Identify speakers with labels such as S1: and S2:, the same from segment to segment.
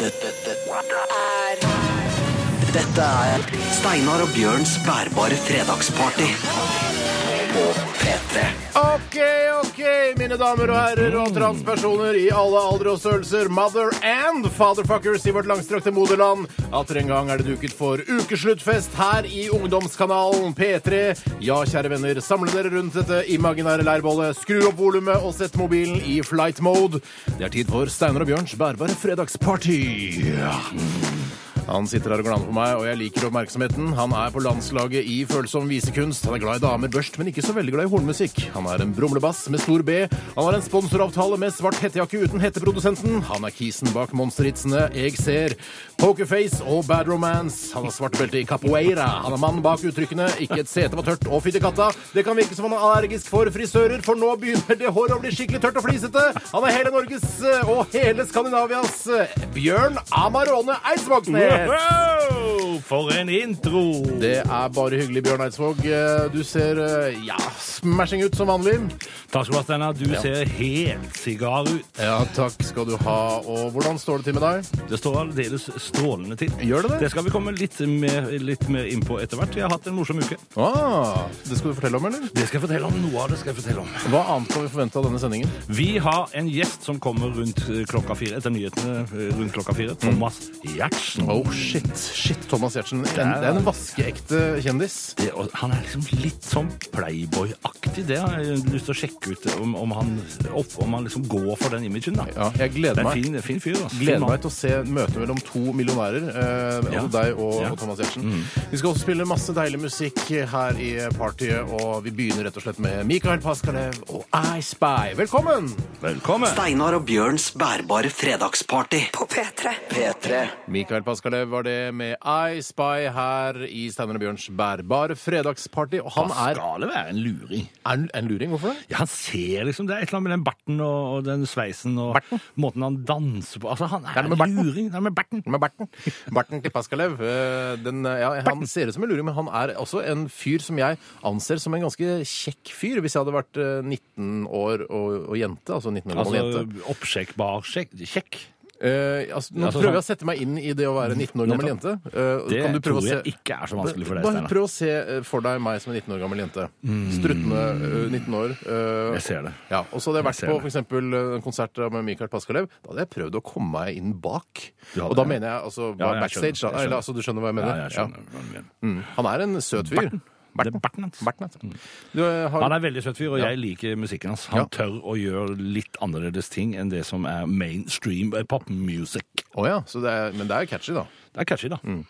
S1: Dette, dette er Dette er Steinar og Bjørns bærbare fredagsparty på P3.
S2: Ok, ok, mine damer og herrer og transpersoner i alle aldre og størrelser, mother and fatherfuckers i vårt langstrakte moderland. Atter en gang er det duket for ukesluttfest her i ungdomskanalen P3. Ja, kjære venner, samle dere rundt dette imaginære leirbålet, skru opp volumet og sett mobilen i flight mode. Det er tid for Steinar og Bjørns bærbare fredagsparty. Ja. Han sitter her og glaner på meg, og jeg liker oppmerksomheten. Han er på landslaget i følsom visekunst. Han er glad i damer børst, men ikke så veldig glad i hornmusikk. Han er en brumlebass med stor B. Han har en sponsoravtale med svart hettejakke uten hetteprodusenten. Han er kisen bak monsterhitsene Jeg ser, Pokerface og Bad Romance. Han har svart belte i capoeira. Han er mannen bak uttrykkene Ikke et sete var tørt og fytti katta. Det kan virke som han er allergisk for frisører, for nå begynner det håret å bli skikkelig tørt og flisete. Han er hele Norges eh, og hele Skandinavias eh, Bjørn Amarone Eidsvågsnes.
S3: Wow! For en intro!
S2: Det er bare hyggelig, Bjørn Eidsvåg. Eh, Du ser eh, ja, smashing ut som vanlig.
S3: Takk skal du ha, Steinar. Du ser helt sigar ut.
S2: Ja, takk skal du ha. Og hvordan står det til med deg?
S3: Det står aldeles strålende til.
S2: Gjør det det?
S3: Det skal vi komme litt mer, litt mer inn på etter hvert. Vi har hatt en morsom uke.
S2: Ah, det skal du fortelle om, eller?
S3: Det skal jeg fortelle om. Noe av det skal jeg fortelle om.
S2: Hva annet kan vi forvente av denne sendingen?
S3: Vi har en gjest som kommer rundt eh, klokka fire etter nyhetene eh, rundt klokka fire. Thomas Giertsen.
S2: Oh, shit. Shit, Thomas Giertsen. En, det er en vaskeekte kjendis.
S3: Det- og Han er liksom litt sånn playboy-aktig. Det har jeg lyst til å sjekke ut om, om, han, opp, om han liksom går for den imagen. da.
S2: Ja, jeg
S3: Det
S2: gleder
S3: er en
S2: meg.
S3: fin, fin fyr. Altså.
S2: Gleder meg til å se møtet mellom to millionærer, eh, altså
S3: Ja.
S2: deg og,
S3: Ja.
S2: og Thomas Giertsen. Vi skal også spille masse deilig musikk her i partyet, og vi begynner rett og slett med Mikael Paskalev og I Spy. Velkommen!
S3: Velkommen.
S1: Steinar og Bjørns bærbare fredagsparty på
S4: P3.
S1: P3.
S2: Mikael Paskalev var det med I Spy her i Steinar og Bjørns bærbare fredagsparty. Og han er,
S3: Pascal er en luring.
S2: er en- en luring. Hvorfor det?
S3: Ja, han ser liksom, Det er et eller annet med den barten og, og den sveisen og måten han danser på. Altså, Han er,
S2: er det med
S3: en
S2: barten?
S3: luring. Det er med barten.
S2: Med Berten. Berten til Paskalev. eh, Den, eh, ja, han ser ut som en luring, men han er også en fyr som jeg anser som en ganske kjekk fyr. Hvis jeg hadde vært eh, 19 år og, og jente, altså 19 år gammel
S3: Altså,
S2: jente.
S3: Oppsjekk, bar, sjekk. sjekk.
S2: Eh, altså, nå
S3: altså,
S2: prøver jeg å
S3: sånn-
S2: sette meg inn i det å være 19 år gammel jente. Eh,
S3: Det
S2: kan du prøve
S3: tror
S2: å
S3: jeg
S2: se
S3: ikke er så vanskelig for deg,
S2: Bare
S3: Steinar. Mm.
S2: prøv å se eh, for deg meg som en 19 år gammel jente. Struttende eh, 19 år. eh,
S3: Jeg ser det.
S2: Ja, og så hadde jeg vært
S3: Jeg ser
S2: på
S3: det.
S2: for eksempel, eh, en konsert med Mikael Paskalev. Da hadde jeg prøvd å komme meg inn bak.
S3: Du hadde
S2: Og da
S3: det.
S2: mener jeg altså
S3: Ja, jeg
S2: backstage.
S3: skjønner,
S2: da,
S3: jeg
S2: eller,
S3: skjønner.
S2: altså, du skjønner hva jeg
S3: Ja,
S2: mener?
S3: jeg skjønner. hva du mener.
S2: Ja. Mm. Han er en søt fyr.
S3: Det er barten hans.
S2: Berten, heter han. Du, eh, har,
S3: Mm. Han er veldig søt fyr, og jeg liker musikken hans. Han
S2: Ja.
S3: tør å gjøre litt annerledes ting enn det som er mainstream eh, popmusic.
S2: Å ja, så det er, men det er catchy, da.
S3: Det er catchy, da.
S2: Mm.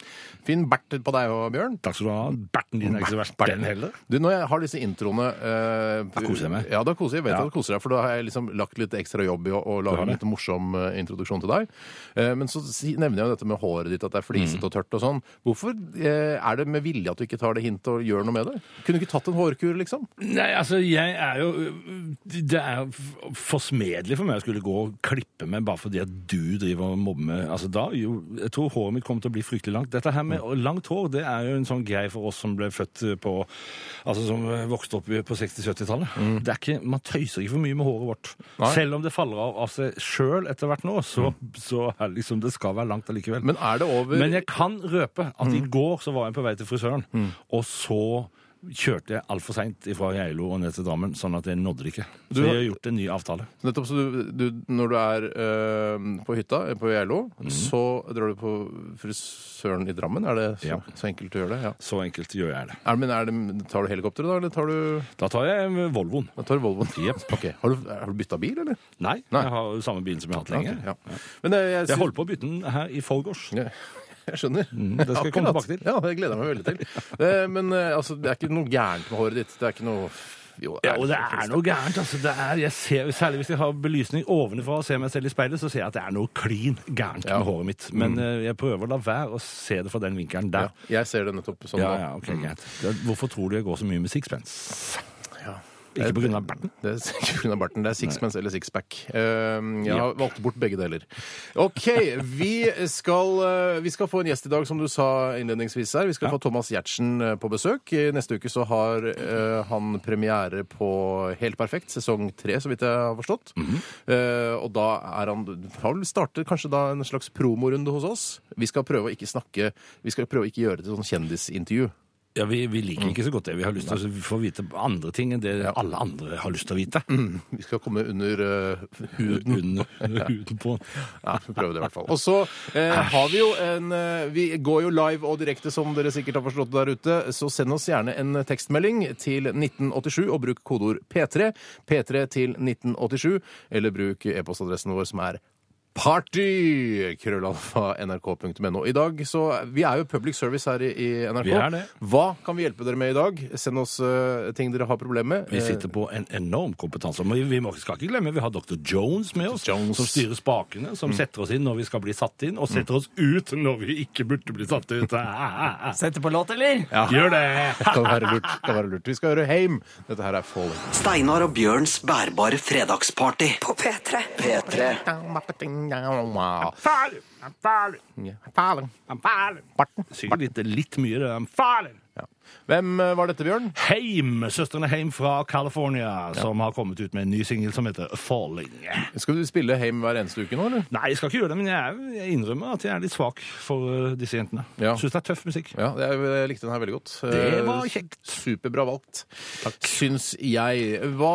S2: Fin bert på deg og Bjørn.
S3: Takk skal du ha. Barten din er ikke så verst, den heller.
S2: Du, Når jeg har disse introene eh,
S3: Da koser jeg meg.
S2: Ja, da koser jeg, jeg vet at
S3: Ja.
S2: du koser deg, for da har jeg liksom lagt litt ekstra jobb i å, å
S3: Du
S2: lage
S3: har
S2: en
S3: det.
S2: litt morsom eh, introduksjon til deg. Eh, men så si, nevner jeg jo dette med håret ditt, at det er
S3: Mm.
S2: flisete og tørt og sånn. Hvorfor eh, er det med vilje at du ikke tar det hintet og gjør noe med det? Kunne du ikke tatt en hårkur, liksom?
S3: Nei, altså, jeg er jo Det er jo forsmedelig for meg å skulle gå og klippe meg bare fordi at du driver og mobber meg. Altså, da, jo, jeg tror håret mitt kommer til å bli fryktelig langt. Dette her med langt hår det er jo en sånn greie for oss som ble født på Altså som vokste opp på 60-70-tallet. Det er ikke- Man tøyser ikke for mye med håret vårt.
S2: Nei.
S3: Selv om det faller av av seg sjøl etter hvert nå, så, så er det liksom, det skal være langt allikevel.
S2: Men er det over
S3: Men jeg kan røpe at
S2: Mm.
S3: i går så var jeg på vei til frisøren, og så kjørte jeg altfor seint fra Geilo og ned til Drammen, sånn at jeg nådde det ikke.
S2: Du-
S3: Så jeg har gjort en ny avtale.
S2: Nettopp så du, du Når du er eh, på hytta eh, på Geilo,
S3: Mm.
S2: så drar du på frisøren i Drammen? Er det så,
S3: Ja.
S2: så enkelt du gjør det? Ja.
S3: Så enkelt gjør jeg det.
S2: Er, men er det, tar du helikopteret, da? Eller tar du,
S3: Da tar jeg Volvoen.
S2: da tar du Volvoen?
S3: Jep.
S2: Ok. Har du, har du bytta bil, eller?
S3: Nei,
S2: Nei.
S3: jeg har jo samme bilen som jeg har hatt lenge.
S2: Ja, ok, ja. Men eh, jeg,
S3: Jeg holdt på å bytte den her i forgårs.
S2: Jeg, jeg skjønner.
S3: Mm, det skal jeg komme
S2: Akkurat.
S3: tilbake til.
S2: Ja, det gleder jeg meg veldig til. Eh, Men eh, altså, det er ikke noe gærent med håret ditt. Det er ikke noe jo,
S3: Ja, og det er noe gærent. altså. Det er, jeg ser, særlig hvis jeg har belysning ovenfra og ser meg selv i speilet, så ser jeg at det er noe klin gærent
S2: Ja. Mm.
S3: med håret mitt. Men eh, jeg prøver å la være å se det fra den vinkelen
S2: Ja,
S3: der.
S2: jeg ser det nettopp sånn.
S3: Ja,
S2: nå.
S3: ja, ok, greit. Da- Hvorfor tror du jeg går så mye med sixpence?
S2: Ja.
S3: Ikke på grunn av berten.
S2: Det er ikke pga. barten. Det er sixpence eller sixpack. Um, jeg har valgt bort begge deler. OK, vi skal, uh, vi skal få en gjest i dag, som du sa innledningsvis her. Vi skal
S3: Ja.
S2: få Thomas Giertsen uh, på besøk. I Neste uke så har uh, han premiere på Helt perfekt, sesong tre, så vidt jeg har forstått. uh, og da er han har vel startet kanskje da en slags promorunde hos oss. Vi skal prøve å ikke snakke Vi skal prøve å ikke gjøre det til sånn kjendisintervju.
S3: Ja, vi, vi liker ikke så godt det. Vi har lyst til å få vite andre ting enn det alle andre har lyst til å vite.
S2: Vi skal komme under uh, huden.
S3: Under huden på
S2: Ja, vi prøver det i hvert fall. Og så eh, har vi jo en eh, Vi går jo live og direkte, som dere sikkert har forstått der ute, så send oss gjerne en tekstmelding til 1987 og bruk kodeord P3. P3 til 1987, eller bruk e-postadressen vår som er Party! Krøllalfa nrk.no. I dag så Vi er jo public service her i, i NRK.
S3: Vi er det.
S2: Hva kan vi hjelpe dere med i dag? Send oss eh, ting dere har problemer med. Eh,
S3: Vi sitter på en enorm kompetanse. Men vi må- skal ikke glemme, vi har dr. Jones Mm. med oss,
S2: Jones.
S3: som styrer spakene, som setter oss inn når vi skal bli satt inn, og setter oss ut når vi ikke burde bli satt ut.
S4: Sette på låt, eller?
S3: Gjør det!
S2: kan være lurt. Kan være lurt. Vi skal høre Heim. Dette her er Falling.
S1: Steinar og Bjørns bærbare fredagsparty. På P3. P3.
S3: Farlig! Farlig!
S2: Barten.
S3: Synger litt, litt mye det der. Farlig!
S2: Ja. Hvem eh, var dette, Bjørn?
S3: Heim, søstrene Heim fra California, som har kommet ut med en ny singel som heter Falling.
S2: Skal du spille Heim hver eneste uke nå, eller?
S3: Nei, jeg skal ikke gjøre det, men jeg, er- jeg innrømmer at jeg er litt svak for eh, disse jentene.
S2: Ja.
S3: Syns det er tøff musikk.
S2: Ja, jeg, jeg likte den her veldig godt.
S3: Det var
S2: Eh,
S3: kjekt.
S2: Superbra valgt, syns jeg. Hva,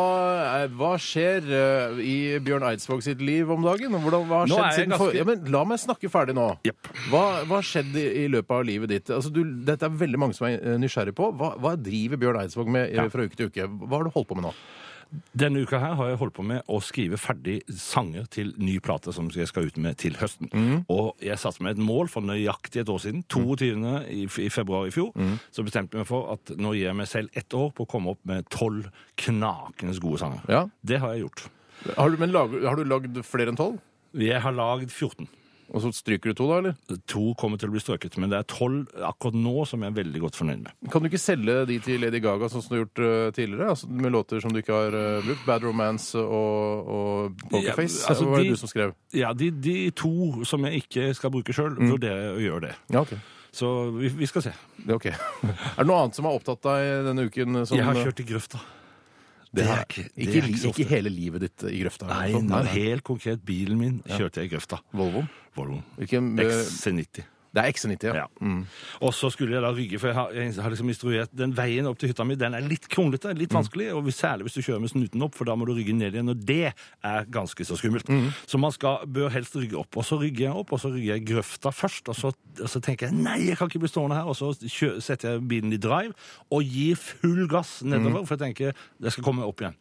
S2: er- hva skjer eh, i Bjørn Eidsvåg sitt liv om dagen? Hvordan, hva har
S3: Nå
S2: skjedd
S3: er jeg
S2: siden
S3: ganske-
S2: for... ja, men La meg snakke ferdig nå.
S3: Jepp.
S2: Hva, hva har skjedd i, i løpet av livet ditt? Altså, du, dette er veldig mange som er eh, nysgjerrig på. Hva, hva driver Bjørn Eidsvåg med eh,
S3: Ja.
S2: fra uke til uke? Hva har du holdt på med nå?
S3: Denne uka her har jeg holdt på med å skrive ferdig sanger til ny plate som jeg skal ut med til høsten.
S2: Mhm.
S3: Og jeg satte meg et mål for nøyaktig et år siden, 22. I, i februar i fjor,
S2: Mhm.
S3: så bestemte jeg meg for at nå gir jeg meg selv ett år på å komme opp med tolv knakende gode sanger.
S2: Ja.
S3: Det har jeg gjort.
S2: Har du, men lager, har du lagd flere enn tolv?
S3: Jeg har lagd 14.
S2: Og så stryker du to, da? eller?
S3: To kommer til å bli strøket, men det er tolv akkurat nå som jeg er veldig godt fornøyd med.
S2: Kan du ikke selge de til Lady Gaga, sånn som du har gjort eh, tidligere? Altså, med låter som du ikke har eh, brukt? Bad Romance og, og Pokerface?
S3: Ja, altså,
S2: Hva var
S3: de-
S2: det du som skrev?
S3: Ja, de, de to som jeg ikke skal bruke sjøl, vurderer jeg å gjøre det.
S2: Ja, ok.
S3: Så vi, vi skal se.
S2: Det er ok. er det noe annet som har opptatt deg denne uken? eh, Som,
S3: Jeg har kjørt i grøfta.
S2: det er, ikke,
S3: ikke, eh, det
S2: ikke,
S3: er ikke så ofte.
S2: hele livet ditt eh, i grøfta?
S3: Nei,
S2: eller noe sånt?
S3: nå, helt konkret, bilen min kjørte jeg i grøfta.
S2: Volvoen?
S3: Volvo
S2: Hvilken, eh,
S3: XC90.
S2: Det er XC90, ja.
S3: Ja. Og så skulle jeg da rygge, for jeg har, jeg har liksom instruert den veien opp til hytta mi. Den er litt kronglete, litt vanskelig, og hvis- særlig hvis du kjører med snuten opp, for da må du rygge ned igjen, og det er ganske så skummelt. Så man skal, bør helst rygge opp. Og så rygger jeg opp, og så rygger jeg i grøfta først, og så, og så tenker jeg nei, jeg kan ikke bli stående her, og så kjø, setter jeg bilen i drive og gir full gass nedover, for jeg tenker jeg skal komme opp igjen.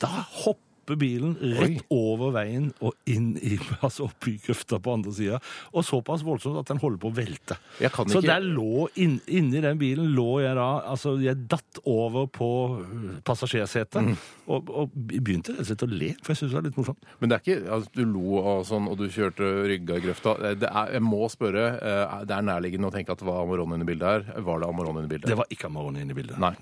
S3: Da hopper bilen rett over veien og inn i, altså opp i grøfta på andre sida. Og såpass voldsomt at den holder på å velte.
S2: Jeg kan
S3: Så
S2: ikke-
S3: der lå inn, inni den bilen lå jeg da Altså, jeg datt over på øh, passasjersetet
S2: Mm.
S3: og, og begynte rett og slett å le, for jeg syntes det var litt morsomt.
S2: Men det er ikke altså, du lo og sånn, og du kjørte rygga i grøfta. Eh, Det er, jeg må spørre. eh, Det er nærliggende å tenke at det var Amarone inne i bildet her. Var det Amarone inne i bildet?
S3: Det var ikke Amarone inne i bildet.
S2: Nei.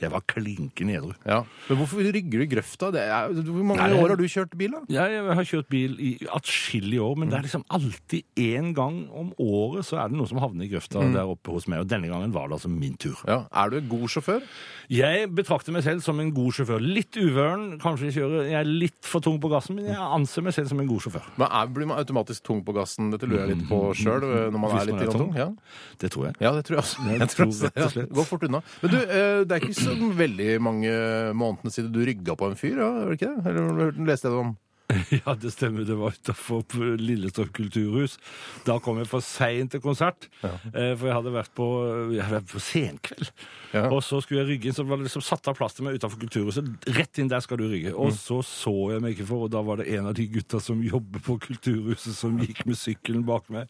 S3: Jeg var klinkende edru.
S2: Ja. Men hvorfor rygger du i grøfta? Det er, hvor mange
S3: Nei, det-
S2: år har du kjørt bil, da?
S3: Ja, jeg har kjørt bil i atskillige år, men
S2: Mm.
S3: det er liksom alltid én gang om året så er det noen som havner i grøfta
S2: Mm.
S3: der oppe hos meg, og denne gangen var det altså min tur.
S2: Ja. Er du en god sjåfør?
S3: Jeg betrakter meg selv som en god sjåfør. Litt uvøren, kanskje jeg kjører Jeg er litt for tung på gassen, men jeg anser meg selv som en god sjåfør.
S2: Men er, blir man automatisk tung på gassen? Dette lurer jeg litt på sjøl. Når Mm. man
S3: Hvis
S2: er litt
S3: man er
S2: grann tung.
S3: tung.
S2: Ja.
S3: Det tror jeg.
S2: ja, det tror jeg også.
S3: Jeg
S2: Jeg
S3: tror
S2: tror også.
S3: rett og slett.
S2: Ja. Gå fort unna. Men du, eh, det er ikke så veldig mange månedene siden du rygga på en fyr, ja? er det ikke det? Eller har du- leste jeg det om?
S3: Ja, det stemmer. Det var utafor Lillestrøm kulturhus. Da kom jeg for seint til konsert, eh, for jeg hadde vært på, jeg hadde vært på senkveld.
S2: Ja.
S3: Og så skulle jeg rygge inn, så var det liksom satt av plass til meg utafor kulturhuset. Rett inn der skal du rygge.
S2: Mm.
S3: Og så så jeg meg ikke for, og da var det en av de gutta som jobber på kulturhuset, som gikk med sykkelen bak meg.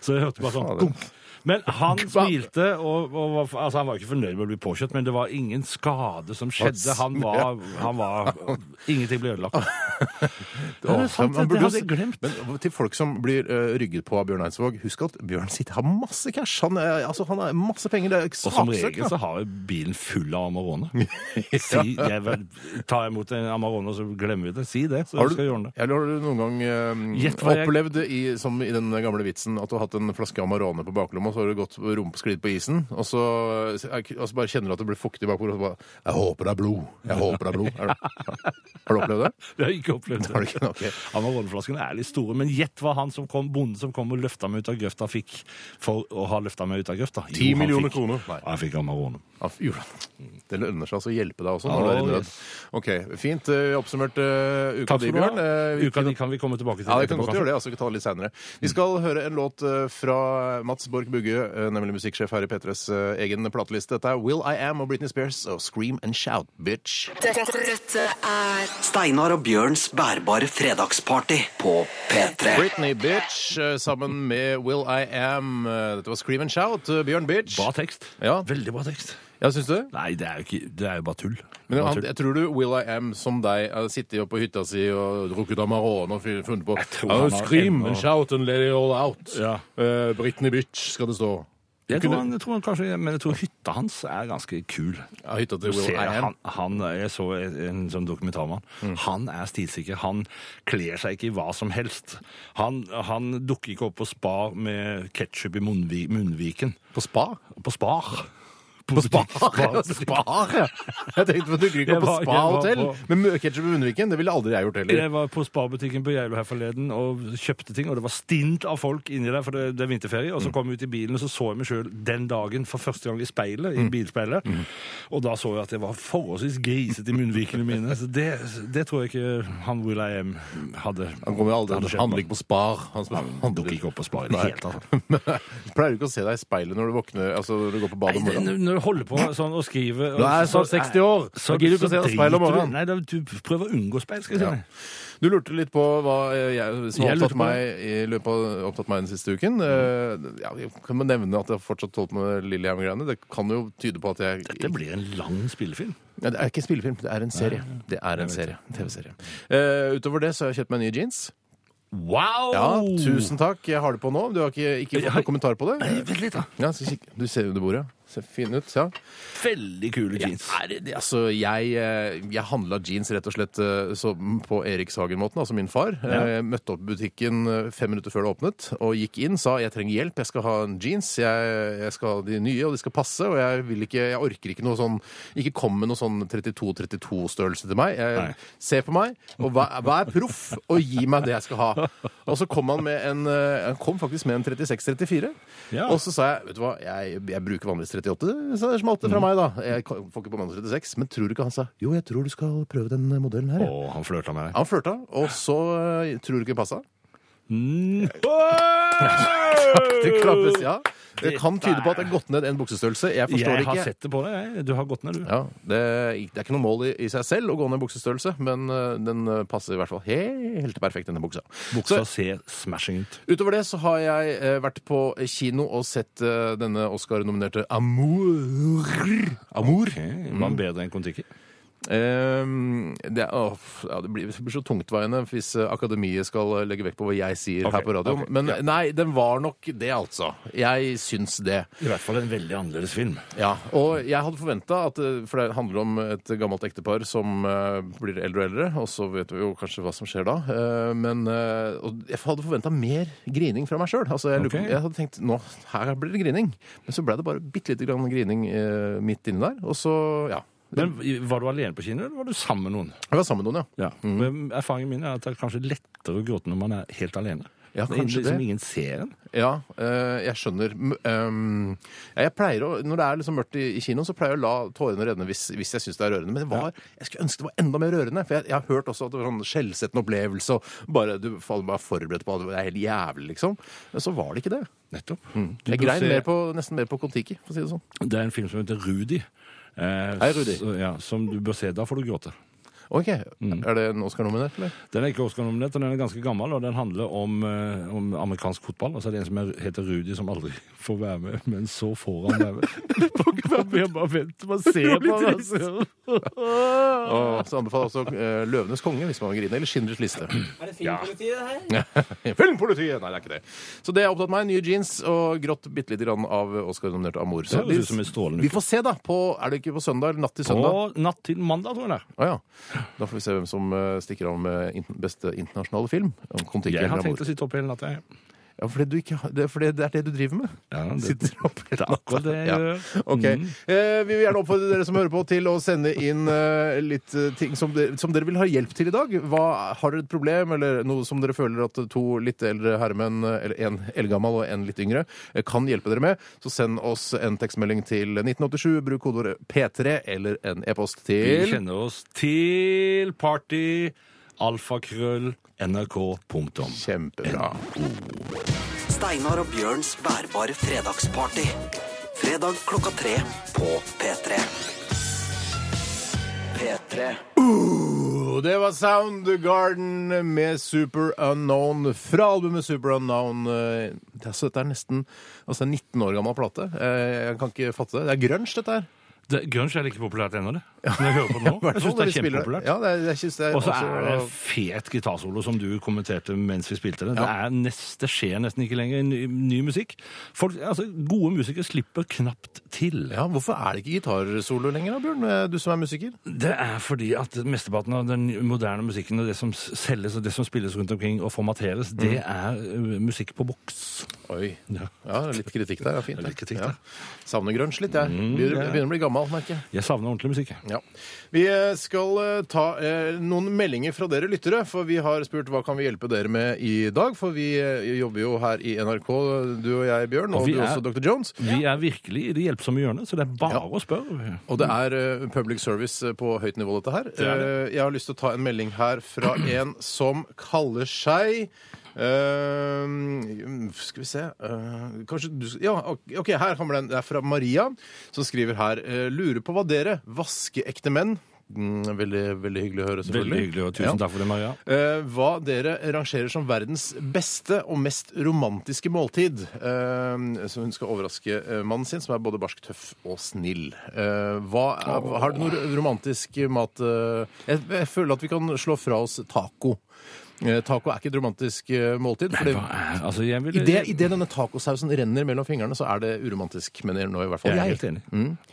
S3: Så jeg hørte bare sånn
S2: Fader.
S3: dunk. Men han smilte, og, og var, altså, han var ikke fornøyd med å bli påkjørt, men det var ingen skade som skjedde. Han var, han var Ingenting ble ødelagt. Ja, det er sant,
S2: Man
S3: det
S2: burde jo
S3: hadde jeg
S2: s-
S3: glemt.
S2: Men til folk som blir eh, rygget på av Bjørn Eidsvåg, husk at Bjørn sitter, har masse cash. Han, er- altså, han har masse penger. Det er ikke
S3: Og som
S2: saksøkt,
S3: regel
S2: da.
S3: så har jo bilen full av Amarone. Si, jeg vel, tar jeg imot en Amarone, så glemmer vi det. Si det, så
S2: Har du,
S3: skal jeg ordne det.
S2: eller har du noen gang eh,
S3: Gjett hva jeg-
S2: opplevd i, som i den gamle vitsen at du har hatt en flaske Amarone på baklomma, så har du gått rumpesklidd på isen, og så, og så bare kjenner du at det blir fuktig bakpå, og så bare Jeg håper det er blod. Jeg håper det er blod. Er du, har du opplevd det?
S3: Det har jeg ikke opplevd.
S2: Har du ikke? Ok.
S3: Amarone-flaskene er litt store, men gjett hva han som kom, bonden som kom og løfta meg ut av grøfta, fikk for å ha løfta meg ut av grøfta. Jo,
S2: Ti
S3: han
S2: millioner
S3: fikk-
S2: kroner. Nei.
S3: Ja, Han fikk Amarone.
S2: Ja, f- gjorde han. Det lønner seg altså å hjelpe deg også når du er i
S3: Oh,
S2: nød.
S3: yes.
S2: Ok, Fint eh, oppsummert eh, uka
S3: Takk
S2: di,
S3: skal du
S2: Bjørn.
S3: ha.
S2: Eh,
S3: Uka di kan vi komme tilbake til.
S2: Ja, vi kan
S3: etterpå,
S2: godt
S3: kanskje.
S2: gjøre det. altså Vi kan ta det litt senere. Vi skal høre en låt eh, fra Mats Borch Bugge, eh, nemlig musikksjef her i P3s eh, egen plateliste. Dette er Will I Am og Britney Spears og Scream and Shout, bitch.
S5: Dette, dette er
S1: Steinar og Bjørns bærbare fredagsparty på P3.
S2: Britney Bitch eh, sammen med Will I Am. Eh, Dette var Scream and Shout. eh, Bjørn Bitch.
S3: Bra tekst.
S2: Ja.
S3: Veldig bra tekst.
S2: Ja, syns du?
S3: Nei, det er jo, ikke, det er jo bare tull.
S2: Men
S3: Bare
S2: han,
S3: tull.
S2: jeg tror du Will I Am som deg eh, sitter jo på hytta si og drukket Amarone og fy- funnet på
S3: tror
S2: Oh,
S3: han har
S2: Scream
S3: ennå-
S2: and shout and let it all out.
S3: Ja.
S2: Eh, Britney Bitch, skal det stå.
S3: jeg, tror
S2: kunne-
S3: han, jeg tror han kanskje, men jeg tror hytta hans er ganske kul.
S2: Ja, hytta til
S3: Du
S2: Will
S3: ser
S2: I Am.
S3: han, han, jeg så en, en sånn dokumentarmann.
S2: Mm.
S3: Han er stilsikker. Han kler seg ikke i hva som helst. Han, han dukker ikke opp på Spar med ketsjup i munnvi, munnviken.
S2: På spa?
S3: På Spar!
S2: På Spar?
S3: Spar.
S2: Spar, ja. Jeg tenkte på at du dukker ikke
S3: Jeg
S2: opp på
S3: var- jeg
S2: Spa
S3: var
S2: hotell
S3: på-
S2: med ketsjup i munnviken. Det ville aldri jeg gjort heller.
S3: Jeg var på Spar-butikken på Geilo her forleden og kjøpte ting, og det var stint av folk inni der, for det, det er vinterferie.
S2: Mm.
S3: Og så kom jeg ut i bilen, og så så jeg meg sjøl den dagen for første gang i speilet,
S2: Mm.
S3: i bilspeilet. Og da så jeg at jeg var forholdsvis grisete i munnvikene mine. Så det, det tror jeg ikke han Will I Am hadde.
S2: Han kommer jo aldri Han
S3: hadde skjedd
S2: handler
S3: med.
S2: ikke på Spar. Han sp-
S3: Han dukker ikke opp på Spar i det
S2: Nei.
S3: hele tatt.
S2: Pleier du ikke å se deg i speilet når du våkner Altså når du går på badet om
S3: Nei,
S2: morgenen?
S3: Når du holder på sånn og skriver
S2: Du er snart 60 år, da gidder du ikke å se deg i speilet om
S3: driter du-
S2: morgenen.
S3: Nei, da, du prøver å unngå speil, skal jeg si.
S2: Ja.
S3: deg.
S2: Du lurte litt på hva eh, jeg, som har
S3: Jeg lurte
S2: opptatt
S3: på-
S2: meg i løpet av opptatt meg den siste uken. Eh, Ja, jeg kan bare nevne at jeg har fortsatt holdt med Lillehammer-greiene. Det kan jo tyde på at jeg
S3: Dette blir en lang spillefilm.
S2: Nei, Det er ikke en spillefilm, det er en serie. Det er en serie, en TV-serie. Eh, utover det så har jeg kjøpt meg nye jeans.
S3: Wow!
S2: Ja, Tusen takk. Jeg har det på nå. Du har ikke, ikke fått
S3: Oh. har-
S2: noen kommentar på det?
S3: Nei, Eh, Vent litt, da.
S2: Ja, så kikk- Du ser under bordet. Ser fin ut. Ja.
S3: Veldig kule jeans.
S2: Er det, det- altså, jeg, eh, jeg handla jeans rett og slett eh, så, på Erikshagen-måten, altså min far. Eh, Jeg møtte opp i butikken eh, fem minutter før det åpnet og gikk inn, sa jeg trenger hjelp, jeg skal ha en jeans, jeg, jeg skal ha de nye og de skal passe, og jeg, vil ikke, jeg orker ikke noe sånn Ikke kom med noe sånn 32-32-størrelse til meg. Jeg,
S3: Nei.
S2: se på meg, og vær, vær proff og gi meg det jeg skal ha. Og så kom han med en eh, Han kom faktisk med en 36-34.
S3: Ja.
S2: Og så sa jeg vet du hva, jeg, jeg bruker vanligvis 38, så det smalt det
S3: Mm.
S2: fra meg, da. Jeg kan- får ikke på meg 36, men tror du ikke han sa jo, jeg tror du skal prøve den modellen her? jeg».
S3: Og han flørta med deg.
S2: Han flørta, og så eh, tror du ikke det passa? Det klappes, ja. Det kan tyde på at det er gått ned en buksestørrelse. Jeg forstår
S3: Jeg
S2: det
S3: har
S2: ikke.
S3: sett det på deg. jeg. Du har gått ned, du.
S2: Ja, det, det er ikke noe mål i, i seg selv å gå ned i buksestørrelse, men eh, den eh, passer i hvert fall helt perfekt, denne buksa.
S3: Buksa
S2: Så-
S3: ser smashing ut.
S2: Utover det så har jeg eh, vært på kino og sett eh, denne Oscar-nominerte Amour. Amour.
S3: Okay. Mm. Var den bedre enn Kon-Tiki?
S2: Ehm, det, er, åh, f- ja, det, blir, det blir så tungtveiende hvis eh, Akademiet skal eh, legge vekt på hva jeg sier
S3: Ok,
S2: her på radioen.
S3: ok,
S2: Men
S3: ja.
S2: nei, den var nok det, altså. Jeg syns det.
S3: I hvert fall en veldig annerledes film.
S2: Ja, og jeg hadde forventa at eh, For det handler om et gammelt ektepar som eh, blir eldre og eldre, og så vet vi jo kanskje hva som skjer da. Eh, Men eh, og jeg hadde forventa mer grining fra meg sjøl. Altså, jeg, lurer på-
S3: Ok.
S2: jeg hadde tenkt nå, her blir det grining. Men så ble det bare bitte lite grann grining eh, midt inni der. Og så, ja.
S3: Men Var du alene på kino, eller var du sammen med noen? Mm.
S2: Jeg var sammen med noen, ja.
S3: Men Erfaringen min er at det er kanskje lettere å gråte når man er helt alene.
S2: Ja,
S3: Det er
S2: kanskje
S3: liksom
S2: det.
S3: ingen ser en.
S2: Ja, eh, jeg skjønner. M- ehm, ja, jeg pleier å, Når det er liksom mørkt i, i kinoen, så pleier jeg å la tårene renne hvis, hvis jeg syns det er rørende. Men det var, jeg skulle ønske det var enda mer rørende. For jeg, jeg har hørt også at det var sånn skjellsettende opplevelse, og bare, du faller bare forberedt på at det er helt jævlig, liksom. Men så var det ikke det.
S3: Nettopp. Du
S2: Jeg
S3: bør
S2: grein
S3: se-
S2: mer på, nesten mer på Kon-Tiki, for å si det sånn.
S3: Det er en film som heter Rudi. Eh,
S2: Hei, Rudi.
S3: s- Ja, som du bør se. Da får du gråte.
S2: Ok,
S3: Mm.
S2: Er det en Oscar-nominert, eller?
S3: Den er ikke Oscar-nominert, og den er ganske gammel, og den handler om, eh, om amerikansk fotball. Og så er det en som er, heter Rudi, som aldri får være med, men så får han være med. Man blir bare vent, man ser på han, altså.
S2: Og så anbefaler jeg også eh, 'Løvenes konge' hvis man vil grine, eller 'Schindlers liste'.
S4: Er det filmpolitiet, det her?
S2: Filmpolitiet! Nei, det er ikke det. Så det har opptatt meg. Nye jeans og grått bitte lite grann av Oscar-nominert Amour. Så
S3: Det høres ut som en strålende
S2: vi får se, da. På, er det ikke på søndag? Eller natt til søndag?
S3: Og natt til mandag, tror jeg det er.
S2: Å ja. Da får vi se hvem som eh, stikker av med inter- beste internasjonale film. Om Kon-Tiki
S3: Jeg har
S2: eller
S3: tenkt å
S2: Amour.
S3: sitte opp hele natta. jeg.
S2: Ja, for det, du ikke, har- det, er fordi det er det du driver med?
S3: Ja, det-
S2: Sitter opp hele
S3: det er akkurat det jeg gjør. Mm.
S2: Ok. Eh, vi vil gjerne oppfordre dere som hører på, til å sende inn eh, litt eh, ting som, dere- som dere vil ha hjelp til i dag. Hva, har dere et problem, eller noe som dere føler at to litt eldre herremenn, eh, eller en eldgammel og en litt yngre, eh, kan hjelpe dere med, så send oss en tekstmelding til 1987. Bruk kodeordet P3 eller en e-post
S3: Vi
S2: til
S3: kjenner oss til party alfakrøll nrk.com.
S2: Kjempebra.
S1: Steinar og Bjørns bærbare fredagsparty. Fredag klokka tre på P3. P3.
S2: Og det var Soundgarden med Super Unknown fra albumet Super Unknown. eh, det er- Så dette er nesten altså 19 år gammel plate. Eh, Jeg kan ikke fatte det. Det er grunge, dette her.
S3: Grunge er like populært ennå, det. Når jeg hører på det nå. Jeg syns det er kjempepopulært.
S2: Ja, det er, jeg synes det er,
S3: Og så er det
S2: også-
S3: fet gitarsolo, som du kommenterte mens vi spilte det. Det, er nest, det skjer nesten ikke lenger i ny, ny musikk. Folk, altså, gode musikere slipper knapt til.
S2: ja, Hvorfor er det ikke gitarsolo lenger, da, Bjørn? Eh, Du som er musiker.
S3: Det er fordi at mesteparten av den moderne musikken og det som s- selges og det som spilles rundt omkring og formateres, det er ø, musikk på boks.
S2: Oi.
S3: Mm. Ja.
S2: Ja, litt kritikk der. Ja, fint.
S3: Litt kritikk
S2: ja.
S3: der. Mm,
S2: Savner grunge litt, jeg. Begynner, begynner å bli gammel, merker jeg.
S3: Jeg savner ordentlig musikk. jeg.
S2: Ja. Vi eh, skal eh, ta eh, noen meldinger fra dere lyttere, for vi har spurt hva kan vi hjelpe dere med i dag. For vi eh, jobber jo her i NRK, du og jeg, Bjørn, og,
S3: Og vi
S2: du
S3: er-
S2: også, Dr. Jones.
S3: Vi er virkelig i det hjelpsomme hjørnet, så det er bare å spørre.
S2: Og det er eh, public service eh, på høyt nivå, dette her.
S3: er
S2: Eh, Jeg har lyst til å ta en melding her fra en som kaller seg eh, skal vi se eh, Kanskje du Ja, OK, her kommer den. Det er fra Maria, som skriver her. eh, lurer på hva dere, vaskeekte menn mm, veldig, veldig hyggelig å høre, selvfølgelig.
S3: Veldig hyggelig, og
S2: Ja.
S3: tusen takk for det, Maria.
S2: Eh, hva dere rangerer som verdens beste og mest romantiske måltid. Eh, så hun skal overraske eh, mannen sin, som er både barsk, tøff og snill. Eh, hva er, Har du noe romantisk mat eh, jeg, jeg føler at vi kan slå fra oss taco. Eh, taco er ikke et romantisk eh, måltid. Fordi
S3: Hva er, altså, jeg vil,
S2: i det, i det denne tacosausen renner mellom fingrene, så er det uromantisk, mener nå i hvert fall
S3: jeg Mm. er helt enig.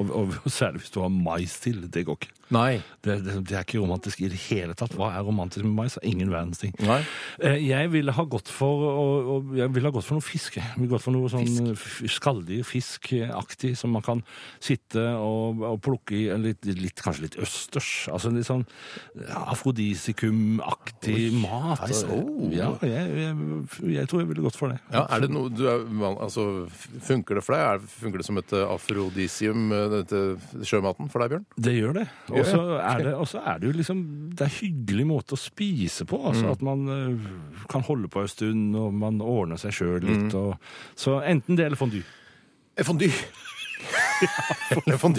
S3: Og, og, og særlig hvis du har mais til. Det går ikke.
S2: Nei.
S3: Det, det, det er ikke romantisk i det hele tatt. Hva er romantisk med mais? Det er Ingen verdens ting.
S2: Nei.
S3: Eh, Jeg ville ha gått for, å- å- jeg ville ha gått for noe fisk. Jeg ville gått for noe sånn f- skalldyr, fiskaktig, som man kan sitte og, og plukke i. en Litt, litt, kanskje litt østers. Altså litt sånn afrodisikum-aktig mat.
S2: nice. Oh.
S3: Ja, jeg, jeg, jeg tror jeg ville gått for det.
S2: Ja, er det noe, du er, man- altså, funker det for deg? Er, funker det som et eh, afrodisium, eh, dette sjømaten, for deg, Bjørn?
S3: Det gjør det. Og
S2: Gjør
S3: så er det, og så er det jo liksom Det er en hyggelig måte å spise på. Altså
S2: Mm.
S3: At man eh, kan holde på en stund, og man ordner seg sjøl
S2: Mm.
S3: litt. Og, så enten det eller fondue. Eh,
S2: Fondue. Fondue.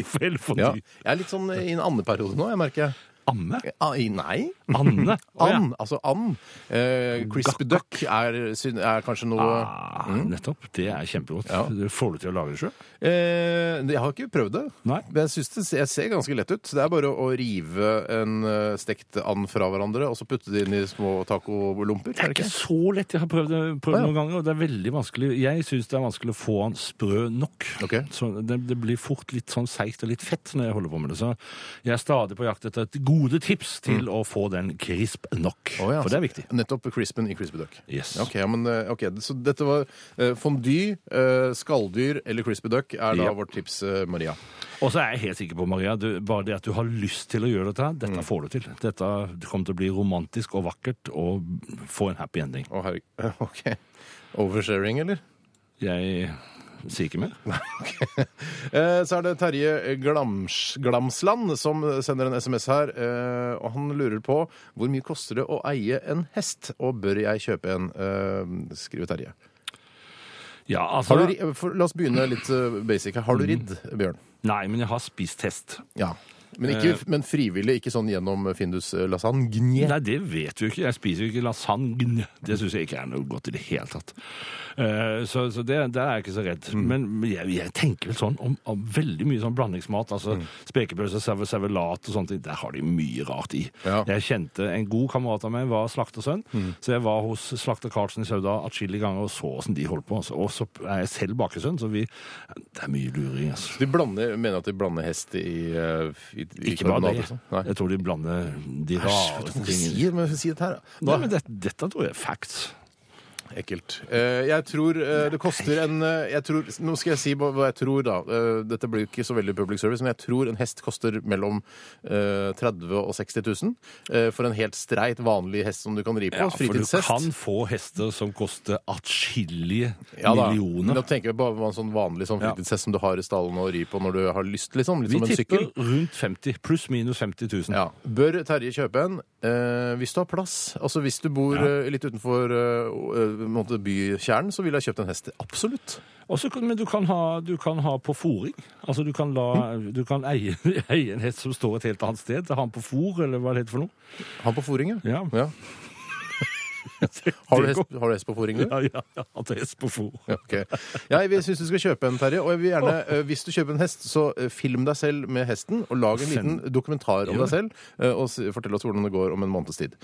S2: Ja.
S3: Eller fondue.
S2: Jeg er litt sånn
S3: eh,
S2: i en andeperiode nå, jeg merker.
S3: Amme?
S2: Ah, i- nei.
S3: Anne? Å, ja.
S2: And, altså and. Eh, crispy duck er, syn- er kanskje noe
S3: Ah, nettopp. Det er kjempegodt.
S2: Mm. Ja.
S3: Det Får du til å lage det sjøl?
S2: eh, Jeg har ikke prøvd det.
S3: Nei.
S2: Men jeg syns det ser- jeg ser ganske lett ut. Det er bare å rive en eh, stekt and fra hverandre og så putte det inn i små tacolomper.
S3: Det er ikke så lett. Jeg har prøvd det prøvd
S2: Å, ja.
S3: noen ganger, og det er veldig vanskelig. Jeg syns det er vanskelig å få han sprø nok.
S2: Ok.
S3: Så det, det blir fort litt sånn seigt og litt fett når jeg holder på med det. Så jeg er stadig på jakt etter et gode tips til å få den krisp nok.
S2: Mm. Å, ja.
S3: For det er viktig.
S2: Nettopp crispen i crispy duck.
S3: Yes.
S2: Ok, ja, men, eh, ok, Så dette var eh, fondue, eh, skalldyr eller crispy duck er da
S3: Ja.
S2: vårt tips, eh, Maria.
S3: Og så er jeg helt sikker på, Maria, du, bare det at du har lyst til å gjøre dette, her,
S2: Mm.
S3: dette får du til. Dette kommer til å bli romantisk og vakkert og få en happy ending.
S2: Å, herregud. Ok. Oversharing, eller?
S3: Jeg sier ikke mer.
S2: Eh, Så er det Terje Glams, Glamsland som sender en SMS her. eh, Og han lurer på hvor mye koster det å eie en hest, og bør jeg kjøpe en? eh, Skriver Terje.
S3: Ja, altså,
S2: Har du, eh, Mm. ri- for, la oss begynne litt eh, basic her. Har du ridd, Bjørn?
S3: Nei, men jeg har spist hest.
S2: Ja. Men, ikke, men frivillig, ikke sånn gjennom Findus eh, lasagne.
S3: Nei, det vet du ikke. Jeg spiser jo ikke lasagne. Det syns jeg ikke er noe godt i det hele tatt. Eh, Så, så det, der er jeg ikke så redd.
S2: Mm.
S3: Men jeg, jeg tenker vel sånn om, om veldig mye sånn blandingsmat. Altså
S2: Mm.
S3: spekepølse, serve- servelat og sånne ting. Der har de mye rart i.
S2: Ja. Mm.
S3: Jeg kjente en god kamerat av meg var slaktersønn, så jeg var hos slakter Karlsen i Sauda atskillige ganger og så åssen de holdt på. altså. Og så er jeg selv bakesønn, så vi Det er mye luring, altså.
S2: De blander, mener at de blander hest i, eh, i, i
S3: Ikke liksom. bare
S2: karbonat
S3: det.
S2: og sånn? Nei.
S3: Jeg tror de blander de
S2: Æsj,
S3: rareste
S2: hva
S3: tingene.
S2: sier men si dette her? da?
S3: Nei, men det, dette tror jeg er facts.
S2: Ekkelt. Eh, jeg tror eh, det koster en eh, jeg tror, Nå skal jeg si hva, hva jeg tror, da. Eh, dette blir ikke så veldig public service, men jeg tror en hest koster mellom eh, 30 000 og 60 000 eh, for en helt streit, vanlig hest som du kan ri på.
S3: for du
S2: fritidshest.
S3: kan få hester som koster atskillige
S2: Ja da. Men
S3: millioner.
S2: Da tenker jeg bare på en sånn vanlig sånn
S3: Ja.
S2: fritidshest som du har i stallen og rir på når du har lyst, liksom. Litt
S3: Vi
S2: som en
S3: tipper
S2: sykkel.
S3: rundt 50, pluss minus 50 000.
S2: Ja. Bør Terje kjøpe en eh, hvis du har plass? Altså Hvis du bor eh, litt utenfor eh, eh, på en måte bykjernen, så ville jeg kjøpt en hest. Absolutt.
S3: Og så kan- men du kan, ha, du kan ha på fôring. Altså du kan, la,
S2: Hm.
S3: du kan eie, eie en hest som står et helt annet sted. Ha den på fôr, eller hva det heter for noe.
S2: Han på fôring, ja.
S3: Ja.
S2: ja. Har du
S3: Det
S2: hest,
S3: går-
S2: har du hest på fôring, du?
S3: Ja, ja, ja, at hest på fôr.
S2: Ja, ok. Jeg vil- syns du skal kjøpe en, Terje. Og jeg vil gjerne, eh, hvis du kjøper en hest, så eh, film deg selv med hesten, og lag en liten dokumentar om deg selv, eh, og s- fortell oss hvordan det går om en måneds tid.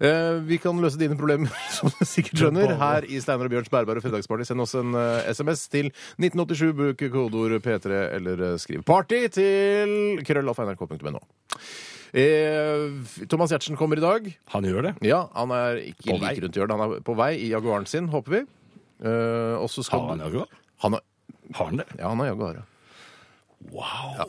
S2: Eh, Vi kan løse dine problemer, som du sikkert skjønner, her i Steinar og Bjørns bærbare fredagsparty. Send oss en eh, SMS til 1987, bruk kodeord P3, eller eh, skriv 'party' til krøllalfa.nrk.no. Eh, Thomas Giertsen kommer i dag.
S3: Han gjør det.
S2: Ja, han er ikke
S3: På
S2: like
S3: vei.
S2: rundt hjørnet. Han er på vei i Jaguaren sin, håper vi. Eh, og så skal
S3: Har han jaguar?
S2: Han har,
S3: Har han det?
S2: ja, han har Jaguar. ja.
S3: Wow!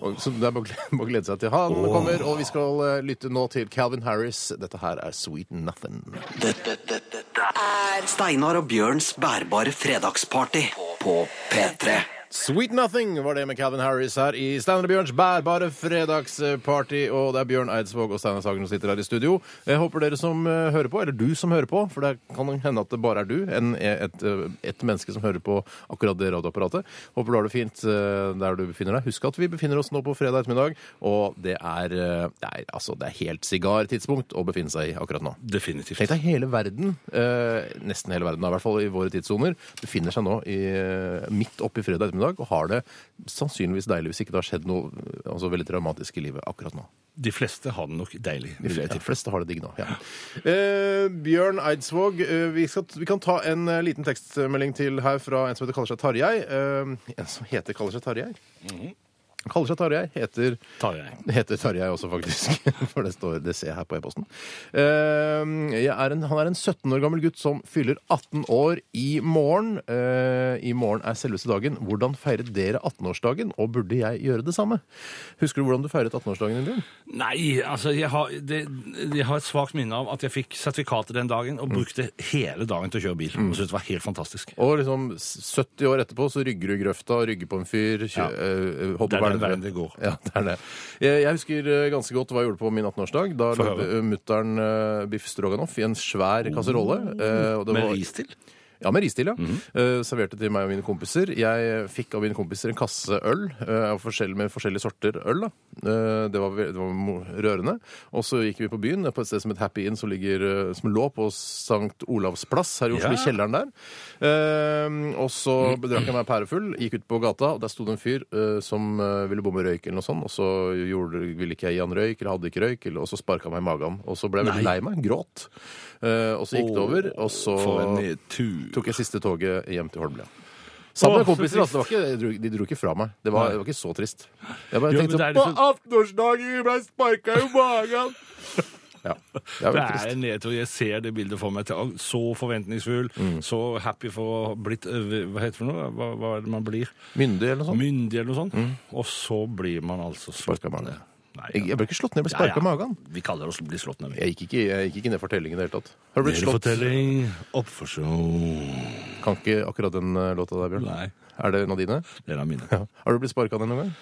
S2: Og, så det er bare å glede- bare å glede seg til han kommer. Og vi skal eh, lytte nå til Calvin Harris. Dette her er Sweet Nothing.
S1: Dette, dette, dette er Steinar og Bjørns bærbare fredagsparty på P3.
S2: Sweet Nothing var det med Calvin Harris her i Steinar og Bjørns bærbare fredagsparty. Og det er Bjørn Eidsvåg og Steinar Sagen som sitter her i studio. Jeg håper dere som eh, hører på, eller du som hører på, for det kan hende at det bare er du, enn et, eh, et menneske som hører på akkurat det radioapparatet. Håper du har det fint eh, der du befinner deg. Husk at vi befinner oss nå på fredag ettermiddag, og det er, eh, det er, altså, det er helt sigartidspunkt å befinne seg i akkurat nå.
S3: Definitivt.
S2: Tenk deg hele verden, eh, nesten hele verden, da, i hvert fall i våre tidssoner, befinner seg nå i, eh, midt oppi fredag ettermiddag og har det sannsynligvis deilig hvis ikke det har skjedd noe eh, altså, veldig dramatisk i livet akkurat nå.
S3: De fleste har det nok deilig.
S2: De
S3: vil jeg
S2: fleste,
S3: tippe.
S2: de fleste har det digg nå. Ja. Eh, Bjørn Eidsvåg, eh, vi, skal, vi kan ta en eh, liten tekstmelding til her fra en som heter kaller seg Tarjei. Eh, en som heter kaller seg Tarjei? Kaller seg Tarjei, heter
S3: Tar jeg.
S2: heter Tarjei også, faktisk. For det, står, det ser jeg her på e-posten. Eh, jeg er en, han er en 17 år gammel gutt som fyller 18 år i morgen. Eh, I morgen er selveste dagen. Hvordan feiret dere 18-årsdagen, og burde jeg gjøre det samme? Husker du hvordan du feiret 18-årsdagen din? Bjørn?
S3: Nei, altså jeg har, det, jeg har et svagt minne av at jeg fikk sertifikatet den dagen
S2: Mm.
S3: og brukte hele dagen til å kjøre bil. Og syntes det var helt fantastisk.
S2: Og liksom 70 år etterpå så rygger du i grøfta, rygger på en fyr, kjø,
S3: Ja.
S2: eh,
S3: Det
S2: hopper
S3: er den
S2: hverandre.
S3: veien det går.
S2: Ja, det er det. Jeg, jeg husker eh, ganske godt hva jeg gjorde på min 18-årsdag. Da
S3: Få
S2: lagde
S3: høre. Oh.
S2: mutter'n eh, biff stroganoff i en svær kasserolle. eh, og det
S3: Med
S2: var-
S3: ris til.
S2: Ja, med ristil, ja.
S3: Mhm.
S2: Eh, serverte til meg og mine kompiser. Jeg eh, fikk av mine kompiser en kasse øl eh, av forskjell, med forskjellige sorter øl. da. Eh, det, var, ve- det var mo- rørende. Og så gikk vi på byen, eh, på et sted som het Happy Inn, som, ligger, eh, som lå på Sankt Olavs plass her i Oslo, i
S3: Ja. Mm.
S2: kjelleren der. Eh, og så drakk jeg meg pærefull, gikk ut på gata, og der sto det en fyr eh, som eh, ville bomme røyk eller noe sånt, og så gjorde, ville ikke jeg gi han røyk, eller hadde ikke røyk, eller, og så sparka han meg i magen. Og så ble jeg veldig lei
S3: Nei.
S2: meg, gråt. Eh, og så gikk det over, og så
S3: For en nedtur.
S2: tok jeg siste toget hjem til Holmlia. Sammen med
S3: Åh, så
S2: kompiser. Altså, det var ikke, de, dro, de dro ikke fra meg. Det var, det var ikke så trist. Jeg bare
S3: Jo,
S2: tenkte
S3: men det er
S2: sånn
S3: liksom-
S2: På 18-årsdagen ble jeg sparka i magen! ja. Det er
S3: Det
S2: veldig
S3: er
S2: trist.
S3: en nedtur. Jeg ser det bildet for meg. til- Så forventningsfull,
S2: Mm.
S3: så happy for å ha blitt eh, Hva heter det for noe? Hva, hva er det man blir?
S2: Myndig eller noe sånt.
S3: Myndig eller noe sånt. Og så blir man altså slått
S2: Sparket i magen.
S3: ned. Nei,
S2: Mm. Jeg, jeg ble ikke slått ned, jeg ble
S3: Ja, ja.
S2: sparka i magen.
S3: Vi kaller det å bli slått ned.
S2: Jeg gikk ikke, jeg gikk ikke ned for tellingen i det hele tatt. Har du blitt slått?
S3: Nedfortelling, oppførsel
S2: Kan ikke akkurat den eh, låta der, Bjørn.
S3: Nei,
S2: Er det en av dine?
S3: det er mine.
S2: Ja. Har du blitt sparka ned noen gang?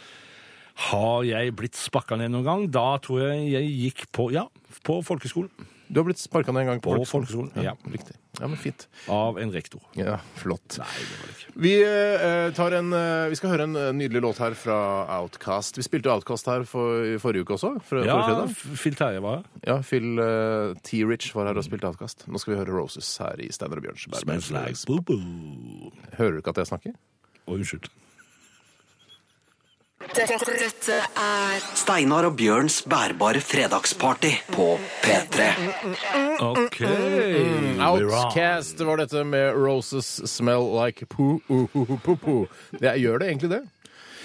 S3: Har jeg blitt sparka ned noen gang? Da tror jeg jeg gikk på Ja, på folkeskolen.
S2: Du har blitt sparka ned en gang
S3: På folkeskolen,
S2: Ja,
S3: ja.
S2: riktig. Ja, men fint.
S3: Av en rektor.
S2: Ja, flott.
S3: Nei, det var det ikke.
S2: Vi, eh, tar en, eh, vi skal høre en eh, nydelig låt her fra Outcast. Vi spilte Outcast her for, i forrige uke også. Fra,
S3: Ja,
S2: forrige fredag.
S3: F- Phil Terje var her.
S2: Ja, Phil eh, T. Rich var her og spilte Outcast. Nå skal vi høre Roses her i Steinar og Bjørns. Berber.
S3: Smells like boo-boo.
S2: Hører du ikke at jeg snakker?
S3: Å, unnskyld.
S5: Dette, dette er
S1: Steinar og Bjørns bærbare fredagsparty på P3.
S3: OK. Mm, we're on.
S2: Outcast Mm. var dette med Roses Smell Like Poo uh, uh, uh, Poo Poo. Det, gjør det egentlig det?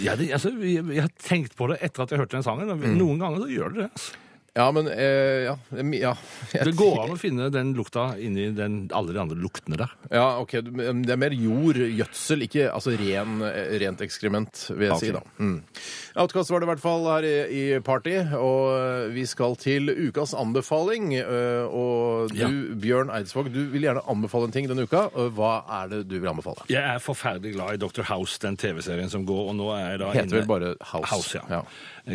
S3: Ja, det, altså, jeg, jeg har tenkt på det etter at jeg hørte den sangen. Noen ganger så gjør det det. Altså.
S2: Ja, men eh, ja, em, ja.
S3: Det går an å finne den lukta inni den, alle de andre luktene der.
S2: ja, ok. du- men Det er mer jord, gjødsel, ikke altså ren, eh, rent ekskrement, vil jeg
S3: Ok.
S2: si da. Mm. Outcast var det i hvert fall her i, i Party, og eh, vi skal til ukas anbefaling. eh, Og du,
S3: Ja.
S2: Bjørn Eidsvåg, du vil gjerne anbefale en ting denne uka. og Hva er det du vil anbefale?
S3: Jeg er forferdelig glad i Dr. House, den TV-serien som går, og nå er jeg da
S2: Heter vel
S3: inne-
S2: bare House.
S3: House, ja.
S2: Ja.